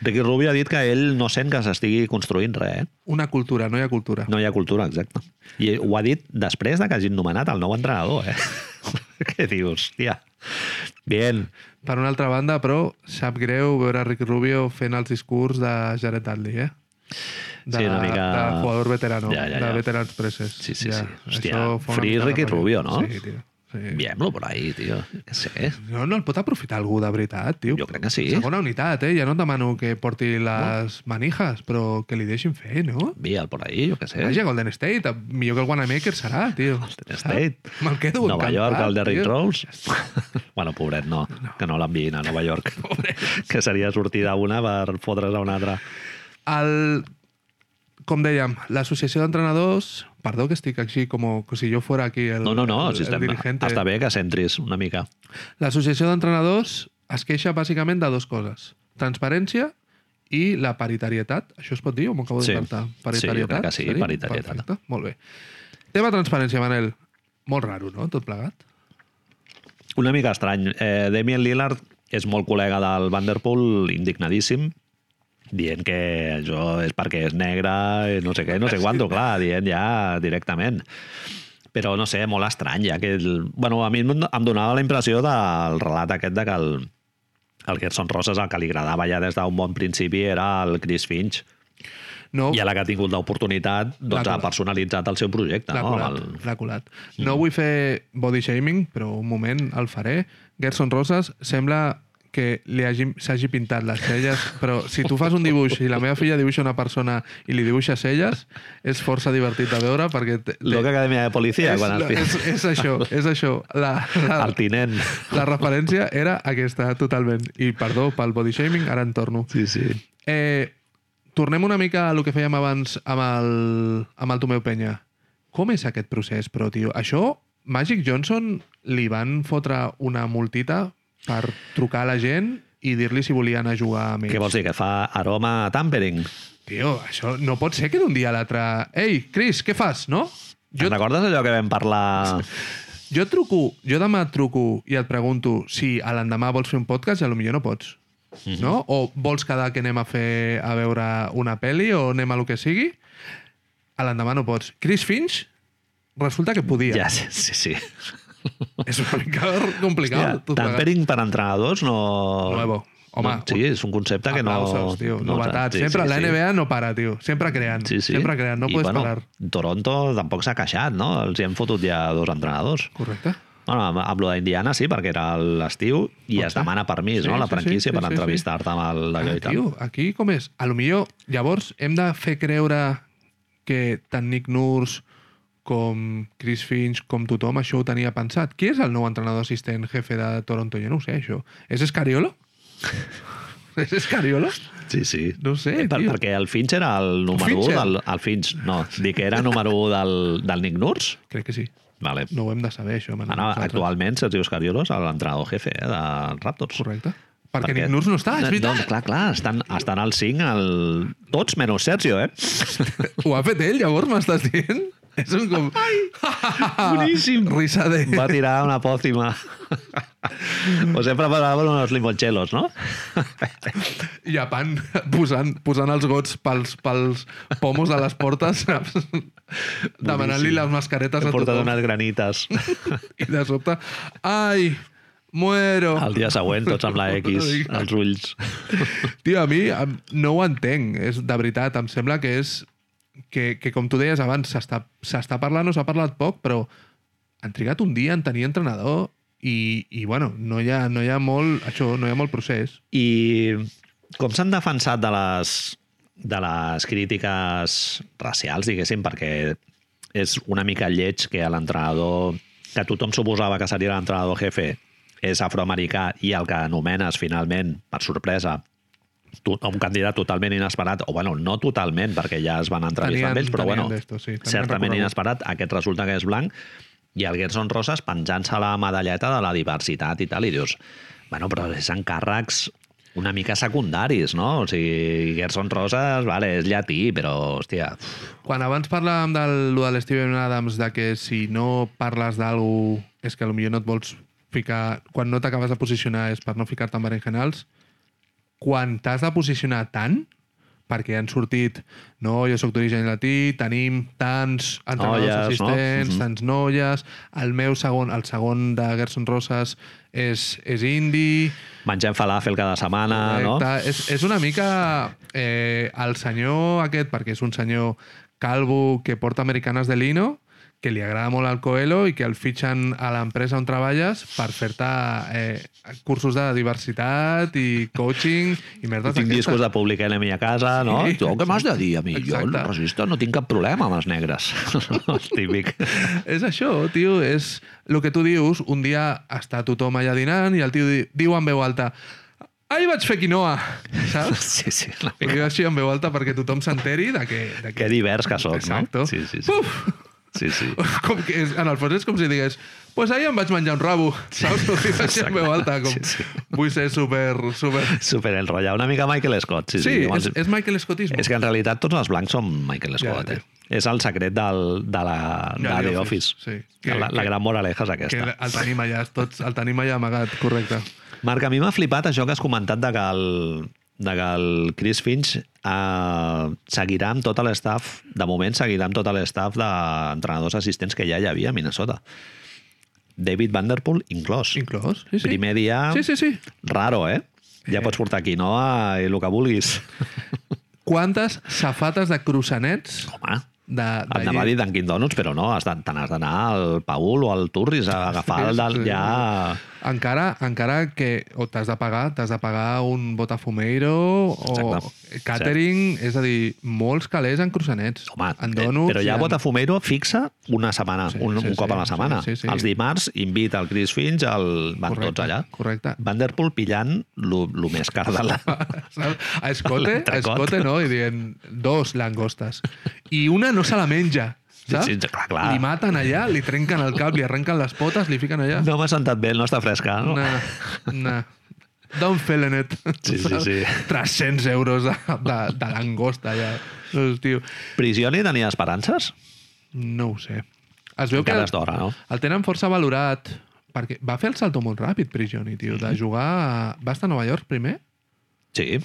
Ricky Rubio ha dit que ell no sent que s'estigui construint res, eh? una cultura, no hi ha cultura. No hi ha cultura, exacte. I ho ha dit després de que hagin nomenat el nou entrenador, eh? Què dius? Hòstia. Bien. Per una altra banda, però, sap greu veure Rick Rubio fent els discurs de Jared Dudley, eh? De, Sí, una mica- de jugador veterano, Ja, ja, ja. de veterans preses. Sí, sí, sí. Hòstia, Això fa una free mica de Ricky ràbia. Rubio, no? Sí, tio. Sí. Enviem-lo por ahí, tio. Què sé. No, no el pot aprofitar algú de veritat, tio. Jo crec que sí. Segona unitat, eh? Ja no et demano que porti les manijas, però que li deixin fer, no? Envia'l por ahí, jo què sé. Vagi a Golden State, millor que el Wanamaker serà, tio. Eh? Golden State. Me'l quedo Nova encantat, York, el Derrick tio. Rose. bueno, pobret, no. Que no l'enviïn a Nova York. que seria sortir d'una per fotre's a una altra. El, com dèiem, l'associació d'entrenadors... Perdó que estic així com que si jo fora aquí el, No, no, no. el, Si el estem, dirigente. està bé que centris una mica. L'associació d'entrenadors es queixa bàsicament de dues coses. Transparència i la paritarietat. Això es pot dir o m'ho acabo Sí. d'inventar? Sí, jo crec que sí, s'ha dit? paritarietat. Perfecte, molt bé. Tema transparència, Manel. Molt raro, no? Tot plegat. Una mica estrany. Eh, Damien Lillard és molt col·lega del Vanderpool, indignadíssim, dient que això és perquè és negre, i no sé què, no sé quanto, clar, dient ja directament. Però no sé, molt estrany, ja que... El... Bueno, a mi em em donava la impressió del relat aquest de que el, el Gerson Roses el que li agradava ja des d'un bon principi era el Chris Finch, No, i a la que ha tingut l'oportunitat L'ha doncs, ha colat. personalitzat el seu projecte. L'ha No? colat, Amb el- l'ha colat. No vull fer body shaming, però un moment el faré. Gerson Roses sembla que li hagi- s'hagi pintat les celles, però si tu fas un dibuix i la meva filla dibuixa una persona i li dibuixa celles, és força divertit de veure perquè... Te, te- Loca Acadèmia de Policia, és, quan la- el, és, és això, és això. La, la, el tinent... la referència era aquesta, totalment. I perdó pel body shaming, ara en torno. Sí, sí. Eh, tornem una mica a lo que fèiem abans amb el, amb el Tomeu Penya. Com és aquest procés, però, tio? Això, Magic Johnson li van fotre una multita per trucar a la gent i dir-li si volia anar a jugar amb ells. Què vols dir? Que fa aroma a tampering? Tio, això no pot ser que d'un dia a l'altre... Ei, Chris, què fas, no? Jo... Jo, Recordes allò que vam parlar... jo truco, jo demà et truco i et pregunto si a l'endemà vols fer un podcast i a lo millor no pots. Mhm. No? O vols quedar que anem a fer a veure una pel·li o anem a lo que sigui? A l'endemà no pots. Chris Finch resulta que podia. Ja, sí, sí. sí. És una mica complicat. Hòstia, tot plegat. tampering per entrenadors no... Nuevo. Home, no, sí, és un concepte que no... Aplausos, tio. no Novetats. sí, sempre sí, la sí. NBA no para, tio. Sempre creant. Sí, sí. Sempre creant. No I, pots bueno, parar. Toronto tampoc s'ha queixat, no? Els hi han fotut ja dos entrenadors. Correcte. Bueno, amb, amb lo d'Indiana sí, perquè era l'estiu i Pot es ser. demana permís, Sí, no?, la sí, sí, franquícia sí, per sí, sí. entrevistar-te amb el d'allò i Ah, tal. tio, aquí com és? A lo millor, llavors, hem de fer creure que tant Nick Nurse com Chris Finch, com tothom, això ho tenia pensat. Qui és el nou entrenador assistent jefe de Toronto? Jo no ho sé, això. És Escariolo? és Escariolo? Sí, sí. No ho sé, per, tio. perquè el Finch era el número 1 Fincher. del... El Finch, no, dic que era número 1 del, del Nick Nurse. Crec que sí. Vale. Ah, No ho hem de saber, això. Manel, Ara, nosaltres. actualment, Sergio Escariolo és l'entrenador jefe eh, de Raptors. Correcte. Perquè, Nick Nurse no està, és veritat. Doncs, clar, clar, estan, estan al 5, el... tots menys Sergio, eh? Ho ha fet ell, llavors m'estàs dient? És un com... Boníssim. Risa de... Va tirar una pòcima. o sempre paraven uns limoncellos, no? i a pan posant, posant els gots pels, pels pomos de les portes, saps? Demanant-li les mascaretes He a portat tothom. unes granites. I de sobte, ai, muero. El dia següent, tots amb la X, als ulls. Tio, a mi em- no ho entenc, és de veritat. Em sembla que és... Que, que com tu deies abans, s'està s'està parlant o s'ha parlat poc, però han trigat un dia en tenir entrenador i, i bueno, no hi, ha, no hi ha molt... Això, no hi ha molt procés. I com s'han defensat de les de les crítiques racials, diguéssim, perquè és una mica lleig que l'entrenador que tothom suposava que seria l'entrenador jefe és afroamericà i el que anomenes finalment, per sorpresa, tu- un candidat totalment inesperat, o bueno, no totalment, perquè ja es van entrevistar Tenien- amb ells, però tenien bueno, d'esto, sí, tenien certament recorregut. inesperat, aquest resulta que és blanc, i el Gerson Roses penjant-se la medalleta de la diversitat i tal, i dius, bueno, però és encàrrecs una mica secundaris, no? O sigui, Gerson Roses, vale, és llatí, però, hòstia, uf, Quan abans parlàvem del, lo de l'Steven Adams, de que si no parles d'algú és que potser no et vols ficar... Quan no t'acabes de posicionar és per no ficar-te en berenjenals, quan t'has de posicionar tant, perquè han sortit, no, jo sóc d'origen llatí, tenim tants entrenadors Noies, no? assistents, Mhm. tants noies, el meu segon, el segon de Gerson Roses és, és indi, mengem falafel cada setmana, Ah, no? Correcte. És, és una mica eh, el senyor aquest, perquè és un senyor calvo que porta americanes de lino, que li agrada molt el Coelho i que el fitxen a l'empresa on treballes per fer-te eh, cursos de diversitat i coaching i merdes Tinc discos d'aquestes. de Public Enemy a casa, no? Sí, Sí, jo, què m'has de dir a mi? Jo, Exacte. racista, no tinc cap problema amb els negres. és típic. És això, tio, és el que tu dius. Un dia està tothom allà dinant i el tio di- diu en veu alta «Ahir vaig fer quinoa!» Saps? Sí, sí, una Ho mica. diu així en veu alta perquè tothom s'enteri de que, de que Que divers que soc, Exacto. no? Sí, sí, sí. Puf! sí, sí. Com que és, en el fons és com si digués pues ahir em vaig menjar un rabo, saps? Ho dius així en veu alta, com Sí, sí. vull ser super... super... Super enrotllat. Una mica Michael Scott. Sí, Sí, sí. és, és Michael Scottismo. és que en realitat tots els blancs són Michael Scott, ja. eh? És el secret del, de la, de, The Office. Sí. Que, la, la gran moraleja és que aquesta. el tenim allà, tots, el tenim allà amagat, correcte. Marc, a mi m'ha flipat això que has comentat de que el, de que el Chris Finch eh, seguirà amb tot l'estaf, de moment seguirà amb tot l'estaf d'entrenadors assistents que ja hi havia a Minnesota. David Vanderpool inclòs. Inclòs, sí, sí. Primer dia... Sí, sí, sí. Raro, eh? Ja pots portar aquí, no? I el que vulguis. Quantes safates de cruçanets Home, de, de et anava a dir Dunkin Donuts, però no, has de- te n'has d'anar al Paul o al Turris a agafar el del... Sí, sí. Ja... Encara, encara que o t'has de pagar, t'has de pagar un botafumeiro o Exacte. catering, és a dir, molts calés en croissanets, Home, eh, en donuts... però ja i en... Botafumeiro fixa una setmana, Sí, sí, un, sí, sí, un cop sí, a la sí, setmana. sí, sí. Els dimarts invita el Chris Finch, el... van Correcte, tots allà. correcte. Vanderpool pillant el més car de la... Saps? A escote, a L'entrecot. escote no, i dient dos langostes. I una no se la menja, saps? sí, clar, clar. Li maten allà, li trenquen el cap, li arrenquen les potes, li fiquen allà. No m'ha sentat bé, no està fresca. No? Nah, nah. Don't fail in it. Sí, sí, sí. 300 euros de, de, de langosta, ja. No, tio. Prisioni tenia esperances? No ho sé. Es veu Encara és que el, d'hora, no? el tenen força valorat perquè va fer el salto molt ràpid, Prigioni, tio, de jugar... A... Va estar a Nova York primer? Sí.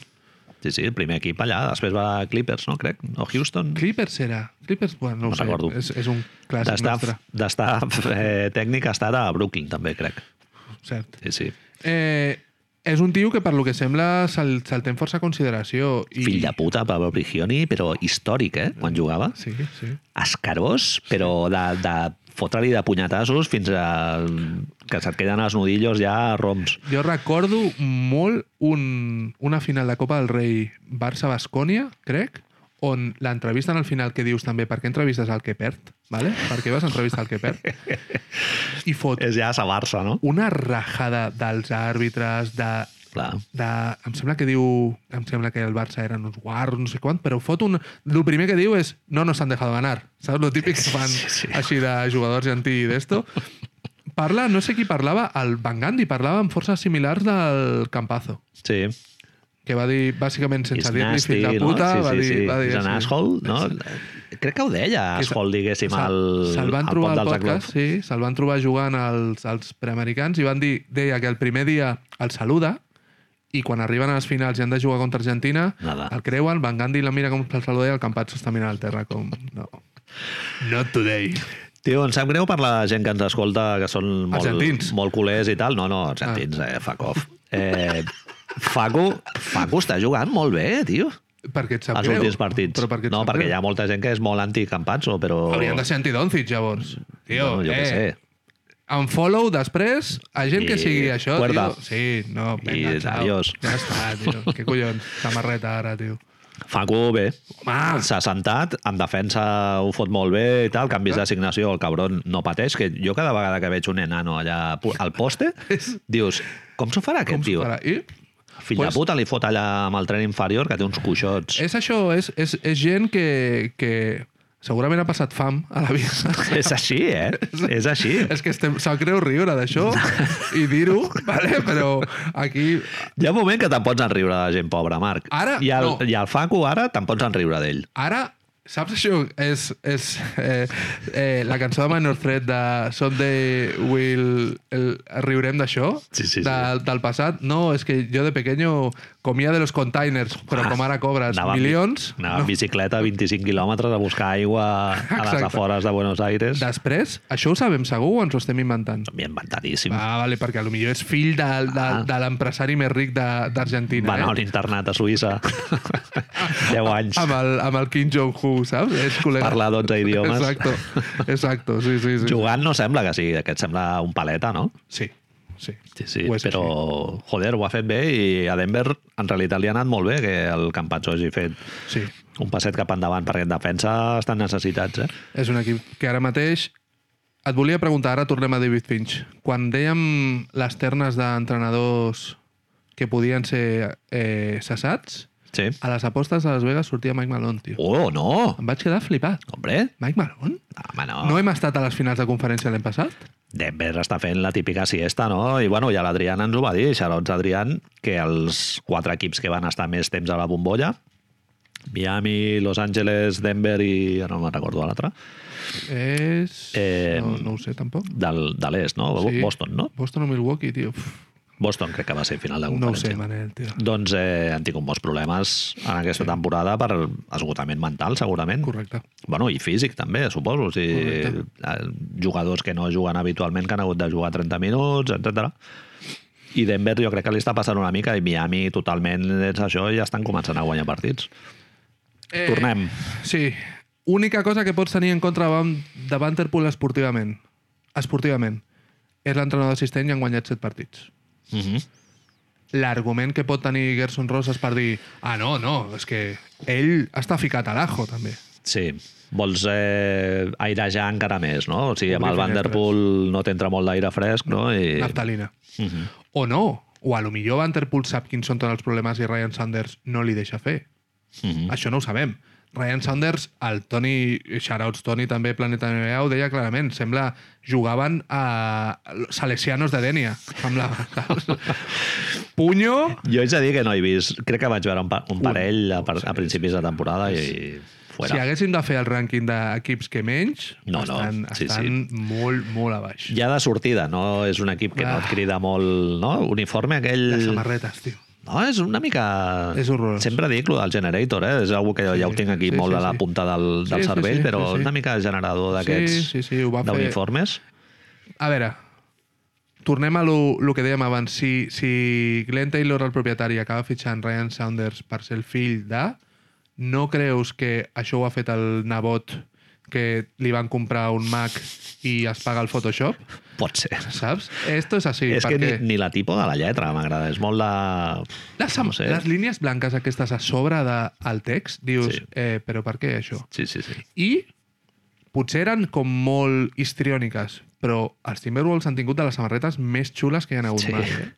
Sí, sí, el primer equip allà, després va a Clippers, no crec? O Houston? Clippers era? Clippers? Bueno, no ho No sé. recordo. És, és un clàssic D'estar nostre, d'estar, eh, tècnic ha estat a Brooklyn, també, crec. cert. Sí, sí. Eh, és un tio que, per lo que sembla, se'l saltem força consideració. I... Fill de puta, Pablo Prigioni, però històric, eh? Quan jugava. Sí, sí. escarós, però de, de fotre-li de punyetassos fins a que se't queden els nudillos ja roms. Jo recordo molt un, una final de Copa del Rei Barça-Bascònia, crec, on l'entrevisten al final que dius també per què entrevistes al que perd, ¿vale? per què vas entrevistar al que perd? I fot És ja sa Barça, no? una rajada dels àrbitres, de, Clar. de... Em sembla que diu... Em sembla que el Barça eren uns guarros, no sé quant, però fot un... El primer que diu és no nos han dejado ganar. Saps? Lo típic que fan Sí, sí, sí. sí. així de jugadors gentí i d'esto. Parla, no sé qui parlava, el Van Gandhi parlava amb forces similars del Campazo Sí. que va dir, bàsicament, sense It's dir-li nasty, fill de puta, no? va dir... Va dir És un sí. asshole, no? Crec que ho deia, Que se- asshole, diguéssim, al, se'l van al trobar pot al dels podcast, Aglob. sí, se'l van trobar jugant als, als preamericans i van dir, deia que el primer dia el saluda i quan arriben a les finals i han de jugar contra Argentina, Nada. el creuen, Van Gandhi la mira com el saluda i el Campazzo està mirant al terra com... No. Not today. Tio, em sap greu per la gent que ens escolta, que són molt, Argentins. Ah. molt culers i tal. No, no, argentins, eh, fuck off. Eh, Facu, Facu està jugant molt bé, tio. Perquè et sap Els greu. últims partits. Però perquè et no, sap perquè greu. hi ha molta gent que és molt anti-Campazzo, però... Haurien de ser antidoncic, llavors. Tio, Bueno, jo eh, què sé. en follow després a gent que I sigui això, cuerda. tio. Sí, no, venga, I chao. adiós. Ja està, tio. Què collons? Samarreta ara, tio. Facu, bé, Home! s'ha sentat, en defensa ho fot molt bé i tal, Ah. canvis d'assignació, el cabron no pateix, que jo cada vegada que veig un enano allà pu- al poste, dius, com s'ho farà aquest Com s'ho tio? farà? I Fill pues... Pues- de puta li fot allà amb el tren inferior que té uns cuixots. és això, és, és, és gent que, que segurament ha passat fam a la vida. És així, eh? És així. És que estem, sap greu riure d'això i dir-ho, vale? però aquí... Hi ha un moment que te'n pots enriure de la gent pobra, Marc. Ara, I el, no. I el Facu ara te'n pots enriure d'ell. Ara, saps això? És, és eh, eh, la cançó de Minor Threat de Someday Will... El, riurem d'això? Sí, sí, sí. Del, del passat? No, és que jo de pequeño comia de los containers, però com ara cobres Ah, Anava amb- milions... Anava no. en bicicleta 25 quilòmetres a buscar aigua a les Exacte. afores de Buenos Aires. De... Després, això ho sabem segur o ens ho estem inventant? Inventadíssim. Va. Ah, vale, perquè a lo millor és fill de, de, de l'empresari més ric de- d'Argentina. Ah. Va anar a eh? un internat a Suïssa. 10 anys. amb el, amb el Kim Jong-un, saps? És col·lega. Parla 12 idiomes. Exacto, exacto, sí, sí. sí. Jugant no sembla que sigui, aquest sembla un paleta, no? Sí, sí. Sí, sí, Ho és però, així. joder, ho ha fet bé i a Denver en realitat li ha anat molt bé que el Campazzo hagi fet Sí. un passet cap endavant perquè en defensa estan necessitats, eh? És un equip que ara mateix... Et volia preguntar, ara tornem a David Finch. Quan dèiem les ternes d'entrenadors que podien ser eh, cessats, Sí. a les apostes a Las Vegas sortia Mike Malone, tio. Oh, no! Em vaig quedar flipat. Hombre, Mike Malone? home, no. No hem estat a les finals de conferència l'any passat? Denver està fent la típica siesta, no? I bueno, ja l'Adrián ens ho va dir, xarots Adrián, que els quatre equips que van estar més temps a la bombolla, Miami, Los Angeles, Denver i... ja no me'n recordo l'altre, És... Eh, No, no ho sé, tampoc. del, de l'est, no? Sí. Boston, no? Boston o Milwaukee, tio. Uf, Boston crec que va ser final de no ho sé, conferència. Manel, tio. doncs eh, han tingut molts problemes en aquesta temporada per esgotament mental, segurament. Correcte. Bueno, i físic també, suposo. O sigui, eh, jugadors que no juguen habitualment, que han hagut de jugar 30 minuts, etc. I Denver jo crec que li està passant una mica i Miami totalment és això i ja estan començant a guanyar partits. Eh. Tornem. Sí. Única cosa que pots tenir en contra davant, de Vanderpool esportivament, esportivament, és l'entrenador assistent i han guanyat set partits. Uh -huh. L'argument que pot tenir Gerson Roses per dir ah, no, no, és que ell està ficat a l'ajo, també. Sí. Vols eh, airejar encara més, no? O sigui, amb el Obrir Vanderpool no t'entra molt d'aire fresc, no? I... Naftalina. Mhm. O no, o a lo millor Vanderpool sap quins són tots els problemes i Ryan Sanders no li deixa fer. Mhm. Això no ho sabem. Ryan Sanders, el Toni, shoutouts Toni també, Planeta NBA, ho deia clarament, sembla jugaven a Salesianos de Dènia. Amb la... Punyo, Jo haig de dir que no he vist... Crec que vaig veure un, pa un parell a, par a principis de temporada i... Fuera. si haguéssim de fer el rànquing d'equips que menys, No, no, estan, sí, sí. estan molt, molt a baix. ja de sortida, no és un equip que no et Ah. crida molt, no? Uniforme Les aquell... samarretes, tio. No, és una mica... És horrorós. Sempre dic lo del generator, eh? És algo que ja ho tinc aquí sí, sí, molt sí, a la sí. punta del, del Sí, sí, cervell, sí, però sí, sí. una mica generador Sí, d'aquests sí, sí, ho va fer... d'uniformes. A veure, tornem a lo, lo que dèiem abans. Si, si Glenn Taylor, el propietari, acaba fitxant Ryan Saunders per ser el fill de... No creus que això ho ha fet el nebot que li van comprar un Mac i es paga el Photoshop? Pot ser. Saps? Esto és així. és que ni, perquè ni la tipo de la lletra m'agrada, és molt la... les, sam- no sé. les línies blanques aquestes a sobre del de, al text, dius, Sí. eh, però per què això? Sí, sí, sí. i potser eren com molt histriòniques, però els Timberwolves han tingut de les samarretes més xules que hi ha hagut Sí. sí. mai. Eh?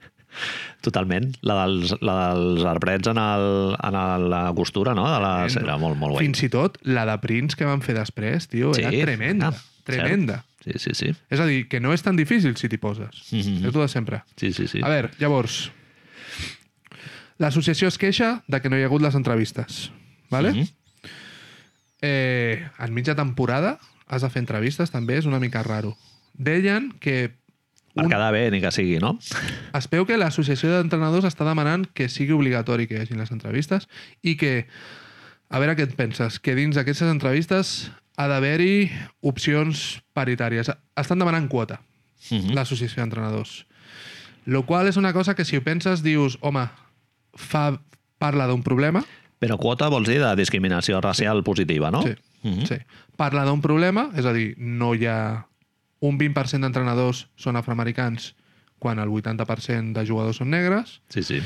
Totalment. La dels, la dels arbrets en, el, en el, la costura, no? De les... Era Ah, molt, molt guai. Fins i tot la de Prince que van fer després, tio, sí, era Sí, tremenda. clar, tremenda. Sí, sí, sí. És a dir, que no és tan difícil si t'hi poses. Mhm. És tot de sempre. Sí, sí, sí. A veure, llavors... L'associació es queixa de que no hi ha hagut les entrevistes. Vale? Mhm. eh, en mitja temporada has de fer entrevistes, també és una mica raro. Deien que Per quedar bé, ni que sigui, no? Es veu que l'associació d'entrenadors està demanant que sigui obligatori que hi hagin les entrevistes i que, a veure què et penses, que dins d'aquestes entrevistes ha d'haver-hi opcions paritàries. Estan demanant quota, Mhm. l'associació d'entrenadors. Lo qual és una cosa que si ho penses dius, home, fa, parla d'un problema, Però quota vols dir de discriminació racial positiva, no? Sí. Mhm. sí. parla d'un problema, és a dir, no hi ha... Un 20% d'entrenadors són afroamericans quan el 80% de jugadors són negres, sí, sí.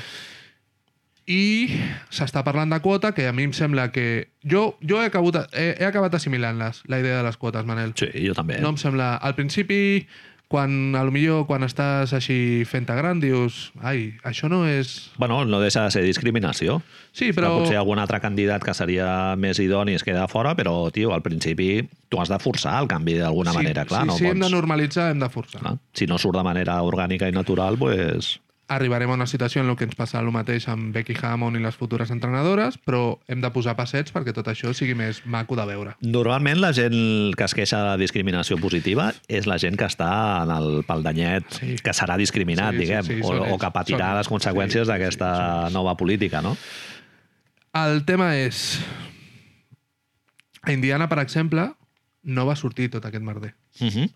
i s'està parlant de quota, que a mi em sembla que... Jo, jo he, acabat, he, he acabat assimilant-les, la idea de les quotes, Manel. Sí, jo també. No em sembla... Al principi, quan, a lo millor, quan estàs així fent-te gran, dius... Ai, això no és... Bueno, no deixa de ser discriminació. Sí, però... Potser algun altre candidat que seria més idoni es queda fora, però, tio, al principi tu has de forçar el canvi d'alguna manera, clar. sí, no sí, hem de pots... normalitzar, hem de forçar. clar, si no surt de manera orgànica i natural, pues, arribarem a una situació en la que ens passa el mateix amb Becky Hammond i les futures entrenadores, però hem de posar passets perquè tot això sigui més maco de veure. Normalment la gent que es queixa de discriminació positiva és la gent que està en el paldanyet, Sí. sí. que serà discriminat, Sí, sí, sí, diguem, sí, sí, sí, són o, o ells, que patirà són les ells. conseqüències sí, Sí, sí, d'aquesta sí, són ells. sí, nova política, no? El tema és... A Indiana, per exemple, no va sortir tot aquest merder. Uh -huh.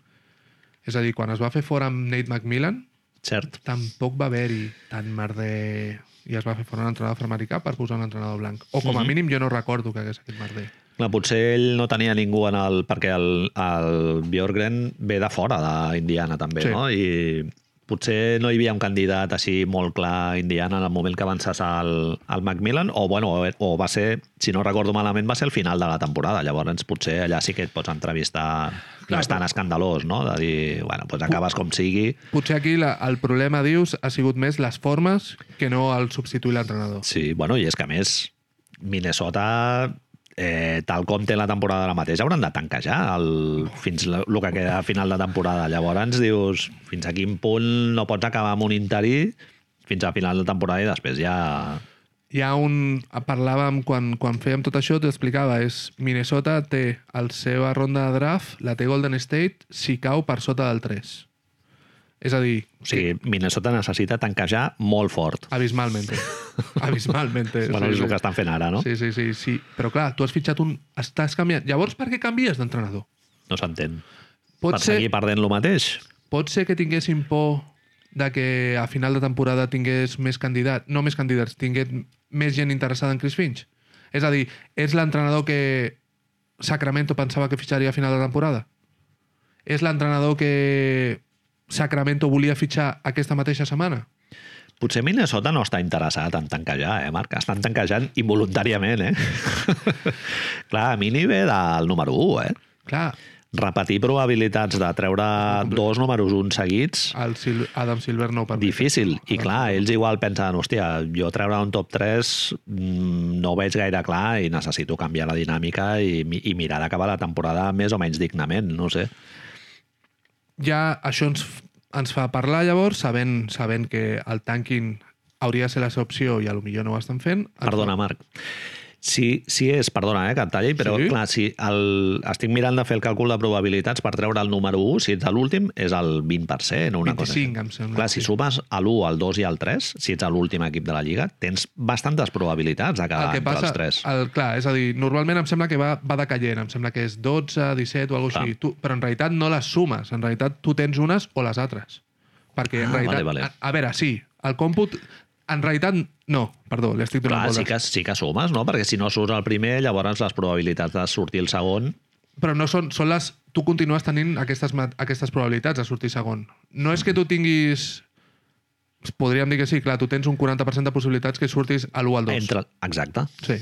És a dir, quan es va fer fora amb Nate McMillan, Cert. tampoc va haver-hi tant merder i es va fer fora un entrenador afroamericà per posar un entrenador blanc. O com a mínim jo no recordo que hagués aquest merder. Clar, potser ell no tenia ningú en el... perquè el, el Bjorgren ve de fora d'Indiana també, Sí. sí. no? I potser no hi havia un candidat així molt clar a Indiana en el moment que van cessar el, el Macmillan, o, bueno, o, o va ser, si no recordo malament, va ser el final de la temporada. Llavors, potser allà sí que et pots entrevistar Clar, clar, no és tan però- escandalós, no? De dir, bueno, doncs acabes com sigui. Potser aquí la, el problema, dius, ha sigut més les formes que no el substituir l'entrenador. Sí, bueno, i és que a més Minnesota eh, tal com té la temporada ara mateix hauran de tancar ja el, fins la- el que queda a final de temporada llavors dius fins a quin punt no pots acabar amb un interí fins a final de temporada i després ja hi ha un... Parlàvem, quan, quan fèiem tot això, t'ho explicava, és Minnesota té el seva ronda de draft, la té Golden State, si cau per sota del 3. És a dir, o sigui, Minnesota necessita tancar ja molt fort abismalment. abismalment. bueno, és el que estan fent ara, no? Sí. Sí, sí, sí, sí. Però clar, tu has fitxat un... Estàs canviant. Llavors, per què canvies d'entrenador? No s'entén. Per Pot, ser, seguir perdent lo mateix? pot ser que tinguessin por de que a final de temporada tingués més candidat, no més candidats, tingués més gent interessada en Chris Finch. És a dir, és l'entrenador que Sacramento pensava que fitxaria a final de temporada? És l'entrenador que Sacramento volia fitxar aquesta mateixa setmana? Potser Minnesota no està interessat en tanquejar, eh, Marc? Estan tanquejant involuntàriament, eh? Clar, a mi n'hi ve del número 1, eh? Clar, repetir probabilitats de treure dos números un seguits, el Sil Adam Silver no ho permet. difícil. I clar, ells igual pensen, hòstia, jo treure un top 3 mm, no ho veig gaire clar i necessito canviar la dinàmica i, mi- i mirar d'acabar la temporada més o menys dignament, no ho sé. Ja això ens, f- ens fa parlar llavors, sabent, sabent que el tanking hauria de ser la seva opció i a lo millor no ho estan fent. ens fa- Perdona, Marc. Sí, sí és, perdona, eh, que et talli, però Sí? sí? clar, si el, estic mirant de fer el càlcul de probabilitats per treure el número 1, si ets a l'últim és el 20%. Una cosa així. 25, em sembla. Clar, si sumes a l'1, al 2 i al 3, si ets a l'últim equip de la Lliga, tens bastantes probabilitats de el quedar que entre passa, Ah, els 3. el, clar, és a dir, normalment em sembla que va, va decaient, em sembla que és 12, 17 o alguna cosa així, tu, però en realitat no les sumes, en realitat tu tens unes o les altres. Perquè en Ah, realitat... vale, vale. A, a veure, sí, el còmput... En realitat, no, perdó, li estic donant Clar, sí voltes. que, sí que sumes, no? Perquè si no surts el primer, llavors les probabilitats de sortir el segon... Però no són, són les... Tu continues tenint aquestes, ma- aquestes probabilitats de sortir segon. No és que tu tinguis... Podríem dir que sí, clar, tu tens un 40% de possibilitats que surtis a l'1 al 2. Entre... Exacte. Sí.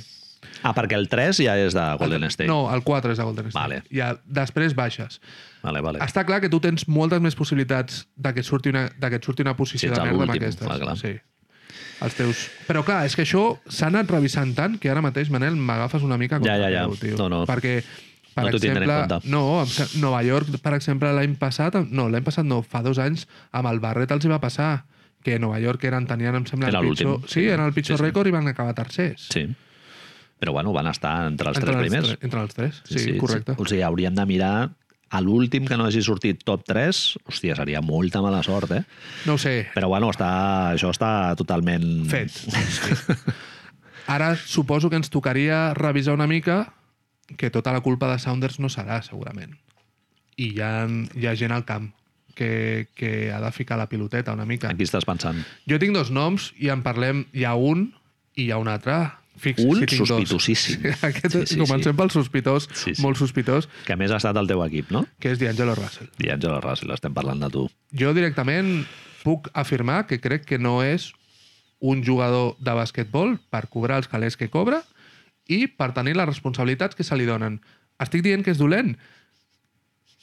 Ah, perquè el 3 ja és de Golden State. No, el 4 és de Golden State. Vale. Ja, després baixes. Vale, vale. Està clar que tu tens moltes més possibilitats de que et surti una, de que et surti una Si posició ets de a merda amb l'últim, aquestes. clar, clar. Sí. Els teus... Però clar, és que això s'ha anat revisant tant que ara mateix, Manel, m'agafes una mica contra Ja, ja, ja. meu, tio. No, no. Perquè, per No t'ho tindré en exemple, compte. no, em sem- Nova York, per exemple, l'any passat, no, l'any passat no, fa dos anys, amb el Barret els hi va passar que Nova York eren, tenien, em sembla, Era el l'últim. pitjor... Sí, eren el pitjor Sí, sí. rècord i van acabar tercers. Sí. Però bueno, van estar entre els entre tres primers. tre- entre els tres, sí, sí correcte. O sigui, hauríem de mirar a l'últim que no hagi sortit top 3, hòstia, seria molta mala sort, eh? No ho sé, Però bueno, està, això està totalment... fet. Ara suposo que ens tocaria revisar una mica que tota la culpa de Sounders no serà, segurament. I hi ha, hi ha gent al camp que, que ha de ficar la piloteta una mica. Aquí estàs pensant. Jo tinc dos noms i en parlem. Hi ha un i hi ha un altre. Fix, Un si tinc dos. sospitosíssim. Aquest, Sí, sí, comencem sí. pel sospitós, Sí, sí. molt sospitós, Que a més ha estat el teu equip, no? que és D'Angelo Russell. D'Angelo Russell, estem parlant de tu. Jo directament puc afirmar que crec que no és un jugador de basquetbol per cobrar els calés que cobra i per tenir les responsabilitats que se li donen. Estic dient que és dolent?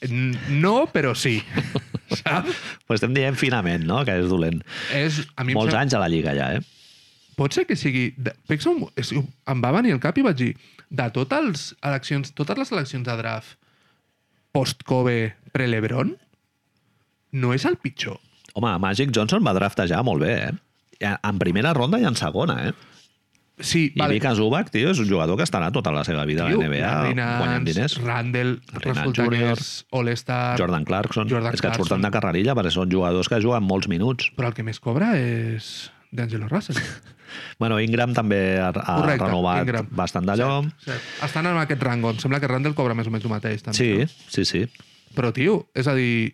N- No, però sí. Saps? Pues estem dient finament, no?, que és dolent. És, a mi em Molts sembla- anys a la Lliga, ja, eh? pot ser que sigui... De... Pensa un... és que Em va venir al cap i vaig dir de totes les eleccions, totes les eleccions de draft post-Kobe pre-Lebron no és el pitjor. Home, Magic Johnson va draftejar molt bé, eh? I En primera ronda i en segona, eh? Sí, I vale. Vika Zubac, tio, és un jugador que estarà tota la seva vida a la NBA guanyant diners. Randall, Larry Nance resulta que Jr., és All-Star... Jordan Clarkson. Jordan és que et surten Clarkson. de carrerilla perquè són jugadors que juguen molts minuts. Però el que més cobra és D'Angelo Russell. Bueno, Ingram també ha, ha Correcte, renovat Ingram. bastant d'allò. Cert. Estan en aquest rango. Em sembla que Randall cobra més o menys el mateix. També, Sí, no? sí, sí. Però, tio, és a dir,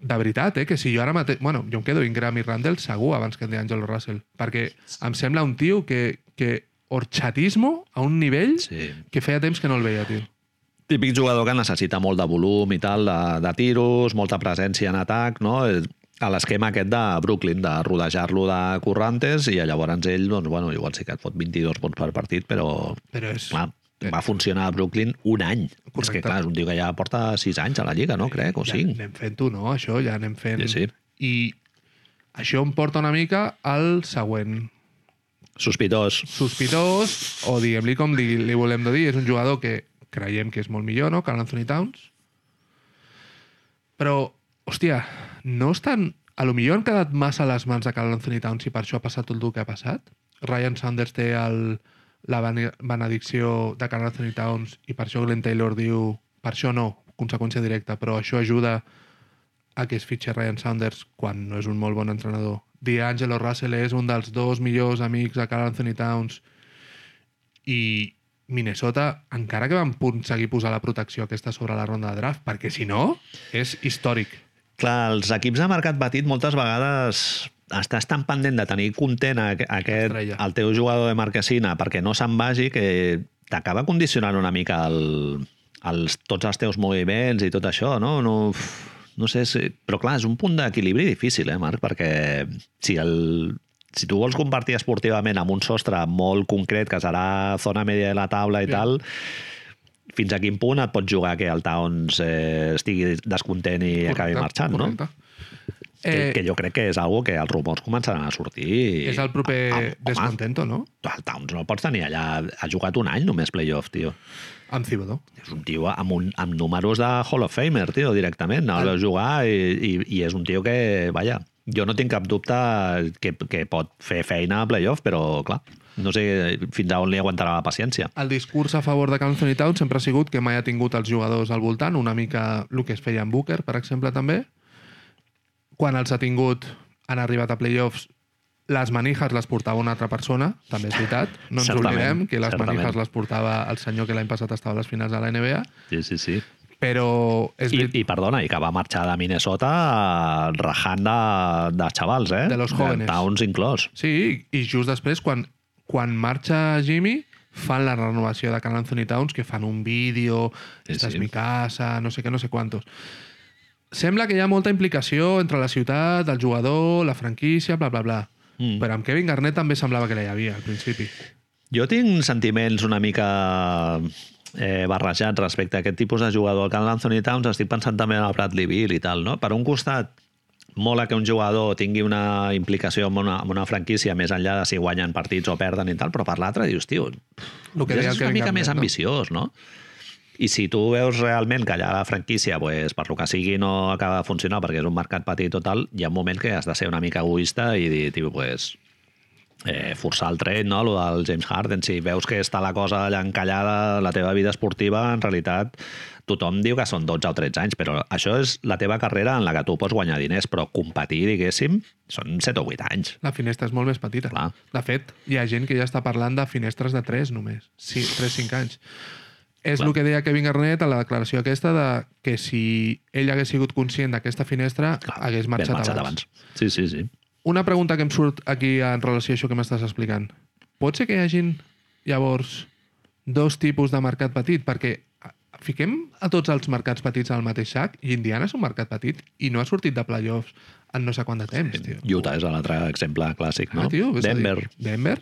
de veritat, eh, que si jo ara mateix... Bueno, jo em quedo Ingram i Randall segur abans que D'Angelo Russell, perquè em sembla un tio que, que orxatismo a un nivell sí. que feia temps que no el veia, tio. típic jugador que necessita molt de volum i tal, de, de tiros, molta presència en atac, no? És a l'esquema aquest de Brooklyn, de rodejar-lo de corrantes i llavors ell, doncs, bueno, igual sí que et fot 22 punts per partit, però Però és... clar, va funcionar a Brooklyn un any. Correcte. És Correcte. que, clar, és un tio que ja porta 6 anys a la Lliga, no? Crec, o ja 5. anem fent-ho, no? Això ja anem fent... Sí, sí. I això em porta una mica al següent. Sospitós. Sospitós, o diguem-li com digui, li volem de dir, és un jugador que creiem que és molt millor, no?, que l'Anthony Towns. Però, hòstia, no estan... A lo millor han quedat massa a les mans de Carl Anthony Towns i per això ha passat tot el que ha passat. Ryan Sanders té el, la bene- benedicció de Carl Anthony Towns i per això Glenn Taylor diu... Per això no, conseqüència directa, però això ajuda a que es fitxi Ryan Sanders quan no és un molt bon entrenador. D'Angelo Russell és un dels dos millors amics de Carl Anthony Towns i Minnesota, encara que van aconseguir posar la protecció aquesta sobre la ronda de draft, perquè si no, és històric. Clar, els equips de mercat batit moltes vegades estàs tan pendent de tenir content a- a aquest, Estrella. el teu jugador de marquesina perquè no se'n vagi que t'acaba condicionant una mica el, els, tots els teus moviments i tot això, no? No, uf, no sé si... Però clar, és un punt d'equilibri difícil, eh, Marc? Perquè si el, si tu vols compartir esportivament amb un sostre molt concret, que serà zona media de la taula i Sí. sí. tal, fins a quin punt et pots jugar que el Towns eh, estigui descontent i correcte, acabi marxant, no? Eh, que, que jo crec que és algo que els rumors començaran a sortir. Eh, és el proper Ah, home, Descontento, no? El Towns no el pots tenir allà... Ha jugat un any només playoff, tio. Amb Thibodeau. És un tio amb, un, amb números de Hall of Famer, tio, directament. No el veus jugar i, i, i és un tio que, vaja, jo no tinc cap dubte que, que pot fer feina a playoff, però, clar, no sé fins a on li aguantarà la paciència. El discurs a favor de Carl Anthony Towns sempre ha sigut que mai ha tingut els jugadors al voltant, una mica el que es feia amb Booker, per exemple, també. Quan els ha tingut, han arribat a playoffs, les manijas les portava una altra persona, també és veritat. No ens Certament, oblidem que les certament. manijas les portava el senyor que l'any passat estava a les finals de la NBA, Sí, sí, sí. però és I, veritat. I, perdona, i que va marxar de Minnesota eh, rajant de, de xavals, eh? De los jóvenes. Towns inclòs. Sí, i just després, quan, quan marxa Jimmy, fan la renovació de Carl Anthony Towns, que fan un vídeo, Sí, esta sí. és mi casa, no sé què, no sé quantos. Sembla que hi ha molta implicació entre la ciutat, el jugador, la franquícia, bla, bla, bla. Mm. Però amb Kevin Garnett també semblava que la hi havia, al principi. Jo tinc sentiments una mica eh, barrejats respecte a aquest tipus de jugador. El Carl Anthony Towns, estic pensant també en el Bradley Beal i tal, no? Per un costat, mola que un jugador tingui una implicació en una, en una franquícia més enllà de si guanyen partits o perden i tal, però per l'altre dius, tio, Lo que ja deia el és una Kevin mica Garnett, més no? ambiciós, no? I si tu veus realment que allà la franquícia, pues, per lo que sigui, no acaba de funcionar perquè és un mercat petit o tal, hi ha un moment que has de ser una mica egoista i dir, tio, pues, eh, forçar el tren, no? Lo del James Harden. Si veus que està la cosa allà encallada, la teva vida esportiva, en realitat, tothom diu que són 12 o 13 anys, però això és la teva carrera en la que tu pots guanyar diners, però competir, diguéssim, són 7 o 8 anys. La finestra és molt més petita. Clar. De fet, hi ha gent que ja està parlant de finestres de 3 només, sí, 3-5 anys. És Clar. el que deia Kevin Garnett a la declaració aquesta de que si ell hagués sigut conscient d'aquesta finestra, hagués marxat, Ben abans. Sí, sí, sí. Una pregunta que em surt aquí en relació a això que m'estàs explicant. Pot ser que hi hagin, llavors, dos tipus de mercat petit? Perquè a- fiquem a tots els mercats petits al mateix sac i Indiana és un mercat petit i no ha sortit de playoffs. en no sé quant de temps, tio. Utah és l'altre exemple clàssic, no? Ah, tio, és a dir, Denver. Denver.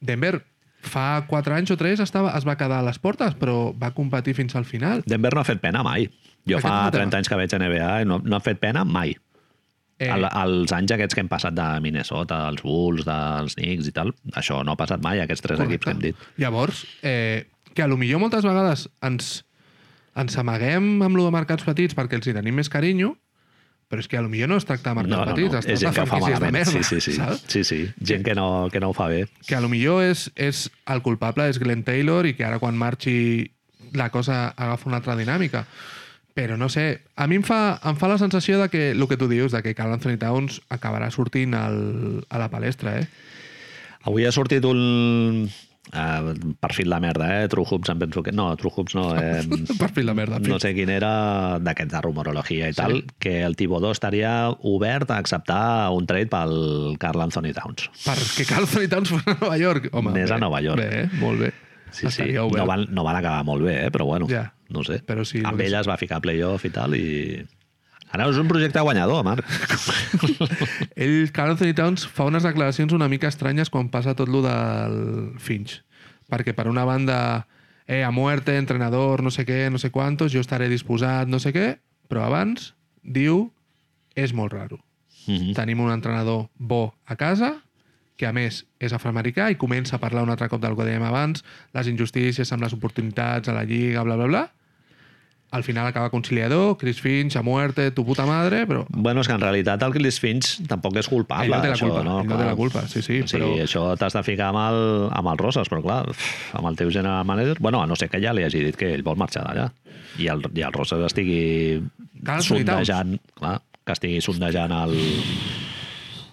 Denver fa 4 anys o 3 estava, es va quedar a les portes, però va competir fins al final. Denver no ha fet pena mai. Jo Aquest és fa un tema. 30 anys que veig NBA i no, no ha fet pena mai. Eh, El, els anys aquests que hem passat de Minnesota, dels Bulls, dels Knicks i tal, això no ha passat mai, aquests tres equips que hem dit. Llavors, eh, que a lo millor moltes vegades ens, ens amaguem amb lo de mercats petits perquè els hi tenim més carinyo, però és que a lo millor no es tracta de mercats No, no, petits, no. es És gent que tracta de ho fa franquícies de malament. merda, sí, sí, sí. saps? sí, sí. Gent que no, que no ho fa bé. Que a lo millor és, és el culpable és Glenn Taylor i que ara quan marxi la cosa agafa una altra dinàmica. Però no sé, a mi em fa, em fa la sensació de que el que tu dius, de que Carl Anthony Towns acabarà sortint al, a la palestra, eh? Avui ha sortit un... Uh, perfil de merda, eh? True Hoops, em penso que... No, True Hoops no. Eh? per fi la merda. no sé quin era d'aquest de rumorologia i tal, que el Tibodó estaria obert a acceptar un trade pel Carl Anthony Towns. Perquè Carl Anthony Towns fos a Nova York. Home, Anés a bé, Nova York. Bé, molt bé. Sí, sí. Estaria obert. No van, no van acabar molt bé, eh? però bueno, Ja. no ho sé. Però sí, Amb el que ella es va ficar a playoff i tal, i... Ara és un projecte guanyador, Marc. Ell, Carl Anthony Towns, fa unes declaracions una mica estranyes quan passa tot lo del Finch. Perquè per una banda, eh, a muerte, entrenador, no sé què, no sé quantos, jo estaré disposat, no sé què, però abans diu, és molt raro. Mhm. Tenim un entrenador bo a casa, que a més és afroamericà i comença a parlar un altre cop del que dèiem abans, les injustícies amb les oportunitats a la lliga, bla, bla, bla. Al final acaba conciliador, Chris Finch, a muerte, tu puta madre, però Bueno, és que en realitat el Chris Finch tampoc és culpable. Ell no té la això, no, culpa, ell no Ah, Clar. té la culpa, sí, sí, O sigui, però- això t'has de ficar amb el, amb el Roses, però clar, uf, amb el teu general manager... Bueno, a no sé que ja li hagi dit que ell vol marxar d'allà. I, el, I el Roses estigui Cal solidar-ho. sondejant... Clar, que estigui sondejant el...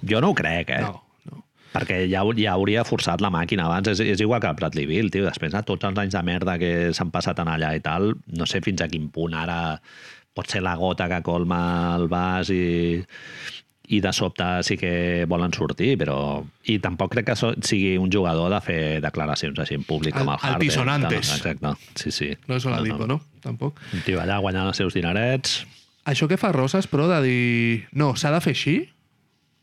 Jo no ho crec, eh? no, no. Perquè ja, hau- ja hauria forçat la màquina abans. És, és igual que el Bradley Bill, tio. Després de tots els anys de merda que s'han passat en allà i tal, no sé fins a quin punt ara pot ser la gota que colma el vas i, i de sobte sí que volen sortir, però... I tampoc crec que so, sigui un jugador de fer declaracions així en públic Al- com el Harden. altisonantes. Exacte, sí, sí. No és Oladipo, no, no. Tampoc. Un tio allà guanyant els seus dinerets... Això que fa Roses, però, de dir... No, s'ha de fer així,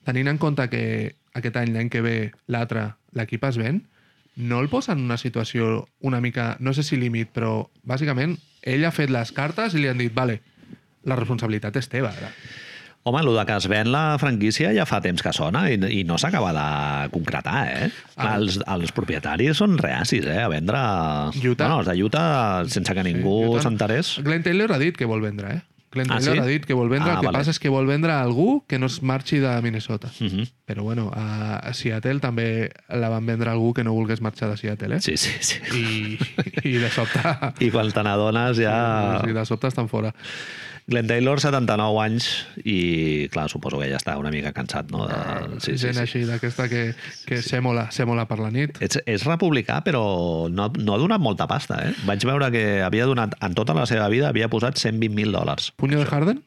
tenint en compte que aquest any, l'any que ve, l'altre, l'equip es ven, no el posa en una situació una mica... No sé si límit, però, bàsicament, ell ha fet les cartes i li han dit, vale, la responsabilitat és teva. Ara. Home, el que es ven la franquícia ja fa temps que sona i, i no s'acaba de concretar, eh? Ah. Els, els propietaris són reacis, eh? A vendre... Utah. Bueno, els de Utah, sense que ningú Utah. s'enterés. Glenn Taylor ha dit que vol vendre, eh? Glenn Ah, Taylor sí? ha dit que vol vendre, Ah, el que vale. passa és que vol vendre a algú que no es marxi de Minnesota. Uh -huh. Però bueno, a, a Seattle també la van vendre a algú que no volgués marxar de Seattle, eh? Sí, sí, sí. i, i de sobte I quan te n'adones ja... i de sobte estan fora Glenn Taylor, 79 anys, i clar, suposo que ja està una mica cansat, no? De... Sí, sí, Ah, gent sí. així d'aquesta que, que sèmola, sèmola per la nit És, és republicà, però no, no ha donat molta pasta, eh? Vaig veure que havia donat, en tota la seva vida, havia posat 120.000 dòlars. Puño de Harden?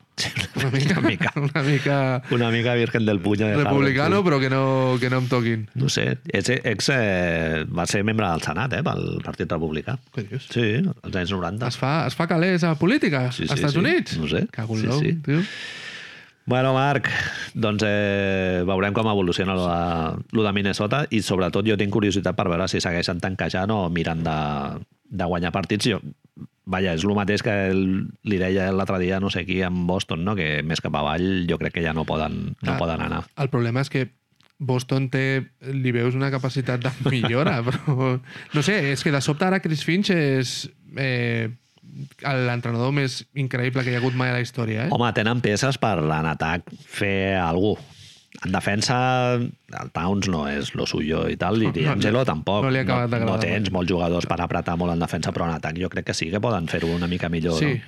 Una mica, Una mica. una mica Una mica virgen del puny. de Harvard, republicano però que no, que no em toquin No ho sé, ex, ex eh, va ser membre del Senat, eh, pel Partit Republicà. Què dius? Sí, als anys 90. Es fa, es fa calés a política Sí, sí, als Estats sí. Units? No ho sé. Cago en Sí, l'ou, sí. tio. Bueno, Marc, doncs eh, veurem com evoluciona lo de, lo de Minnesota i sobretot jo tinc curiositat per veure si segueixen tanquejant o mirant de, de guanyar partits. Jo, vaja, és el mateix que el, li deia l'altre dia, no sé qui, en Boston, no? que més cap avall jo crec que ja no poden, no Ah. poden anar. El problema és que Boston té, li veus una capacitat de millora, però... No sé, és que de sobte ara Chris Finch és eh, l'entrenador més increïble que hi ha hagut mai a la història, eh? Home, tenen peces per en atac fer algú. En defensa, el Towns no és lo suyo i tal, i No, no, D'Angelo tampoc. no li ha no, acabat no d'agradar tens molts jugadors per apretar molt en defensa, però en atac jo crec que sí que poden fer-ho una mica millor. Sí.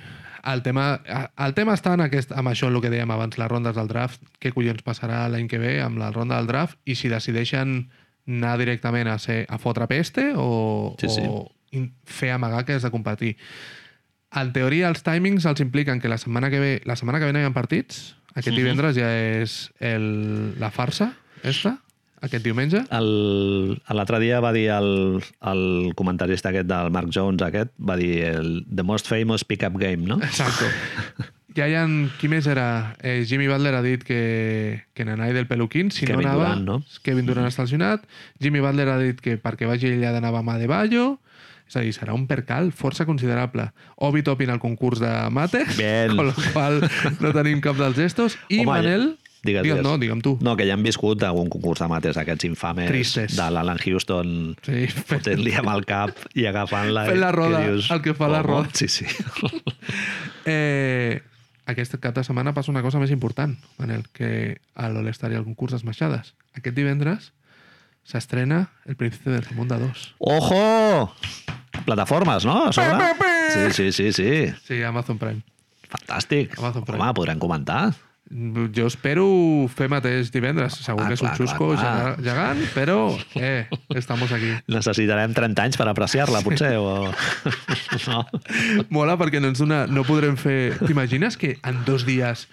El tema, el tema està en aquest, amb això, el que dèiem abans, les rondes del draft. Què collons passarà l'any que ve amb la ronda del draft? I si decideixen anar directament a, ser, a fotre peste o, Sí, sí. o in- fer amagar que has de competir. En teoria, els timings els impliquen que la setmana que ve, la setmana que ve no hi ha partits. Mhm. Aquest divendres ja és el, la farsa, esta, aquest diumenge. El- L'altre dia va dir el, el comentarista aquest del Mark Jones, aquest, va dir el, the most famous pick-up game, no? Exacto. ja hi ha... Qui més era? Eh, Jimmy Butler ha dit que, que Nanai del Peluquín, si Kevin no anava... Durant, no? Kevin Durant està lesionat. Jimmy Butler ha dit que perquè vagi allà anava mà de Bayo. És a dir, serà un percal força considerable. Obi topin al concurs de mates, Bien. amb la qual no tenim cap dels gestos. I Home, Manel... digues, digues. No, digue'm tu. No, que ja han viscut algun concurs de mates aquests infames Tristes. de l'Alan Houston Sí, fet- fotent-li amb el cap i agafant-la. Fent la i- roda, el que fa la "Com?" roda. Sí, sí. Eh, aquest cap de setmana passa una cosa més important, Manel, que a l'All-Star hi ha el concurs d'esmaixades. Aquest divendres s'estrena El Príncipe del Zamunda 2. Ojo! Plataformes, no? A sobre? Sí, sí, sí, sí. Sí, Amazon Prime. Fantàstic. Amazon Prime. Home, podran comentar. Jo espero fer mateix divendres. Segur Ah, que és un clar, xusco clar, clar. gega- gegant, però eh, estamos aquí. Necessitarem 30 anys per apreciar-la, potser, o... No? Mola perquè no, ens dona, no podrem fer... T'imagines que en dos dies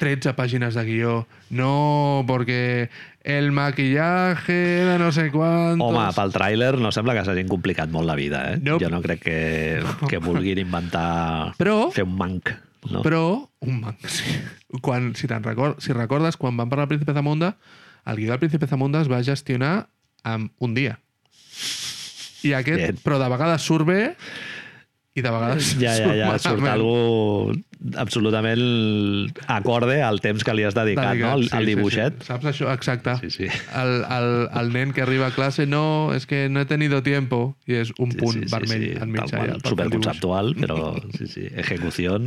13 pàgines de guió? No, porque el maquillaje de no sé cuántos... Home, pel tràiler no sembla que s'hagin complicat molt la vida, eh? Nope. Jo no crec que, que vulguin inventar... Però- Fer un manc, no? Però, un manc, sí. Quan, si, te'n record, si recordes, quan van parlar del Príncipe Zamunda, el guió del Príncipe Zamunda es va gestionar en un dia. I aquest, Bien. però de vegades surt bé i de vegades Ja, ja, ja, surt malament. algú absolutament acorde al temps que li has dedicat, Dedicat, no? Al, sí, al sí, dibuixet. Sí, Ah. sí. Saps això? Exacte. Sí, sí. El, el, el nen que arriba a classe, no, és que no he tenido tiempo, i és un Sí, punt sí, sí, vermell sí, enmig. Tal allà qual, per fer el dibuix. superconceptual, però sí, sí, ejecució.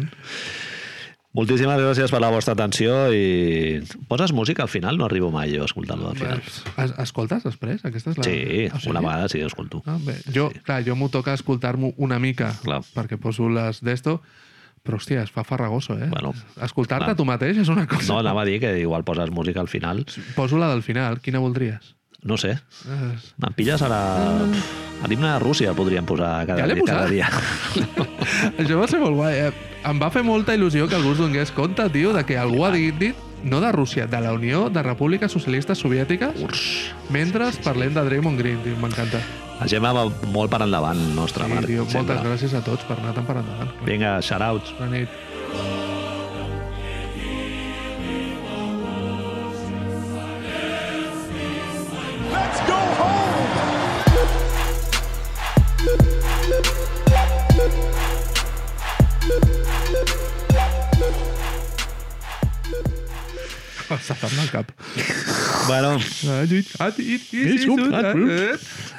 Moltíssimes gràcies per la vostra atenció i poses música al final? No arribo mai jo a escoltar-lo al final. Es, escoltes després? Aquesta és la... Sí, O sigui? una vegada sí que escolto. Ah, bé. Jo, sí. clar, jo m'ho toca escoltar-m'ho una mica, Clar. perquè poso les d'esto, però, hòstia, es fa farragoso, eh? Bueno, Escoltar-te clar. tu mateix és una No, cosa... anava a dir que igual poses música al final. Poso la del final, quina voldries? No sé, Eh, Em pilles ara... A l'himne de Rússia el podríem posar cada, Ah. Ja l'he dia, cada posat. dia. Això va ser molt guai. Eh? Em va fer molta il·lusió que algú es donés compte, tio, de que algú ha dit, dit no de Rússia, de la Unió de Repúbliques Socialistes Soviètiques, Urs. mentre parlem de Draymond Green, tio, m'encanta. La Gemma va molt per endavant, el nostre Sí, Marc. tio, sempre. moltes gràcies a tots per anar tan per endavant. Vinga, shoutouts. Bona nit. Let's go home. S'ha fet mal cap. Bueno, Ah, lluit, ah, lluit, lluit, lluit, lluit, lluit, lluit.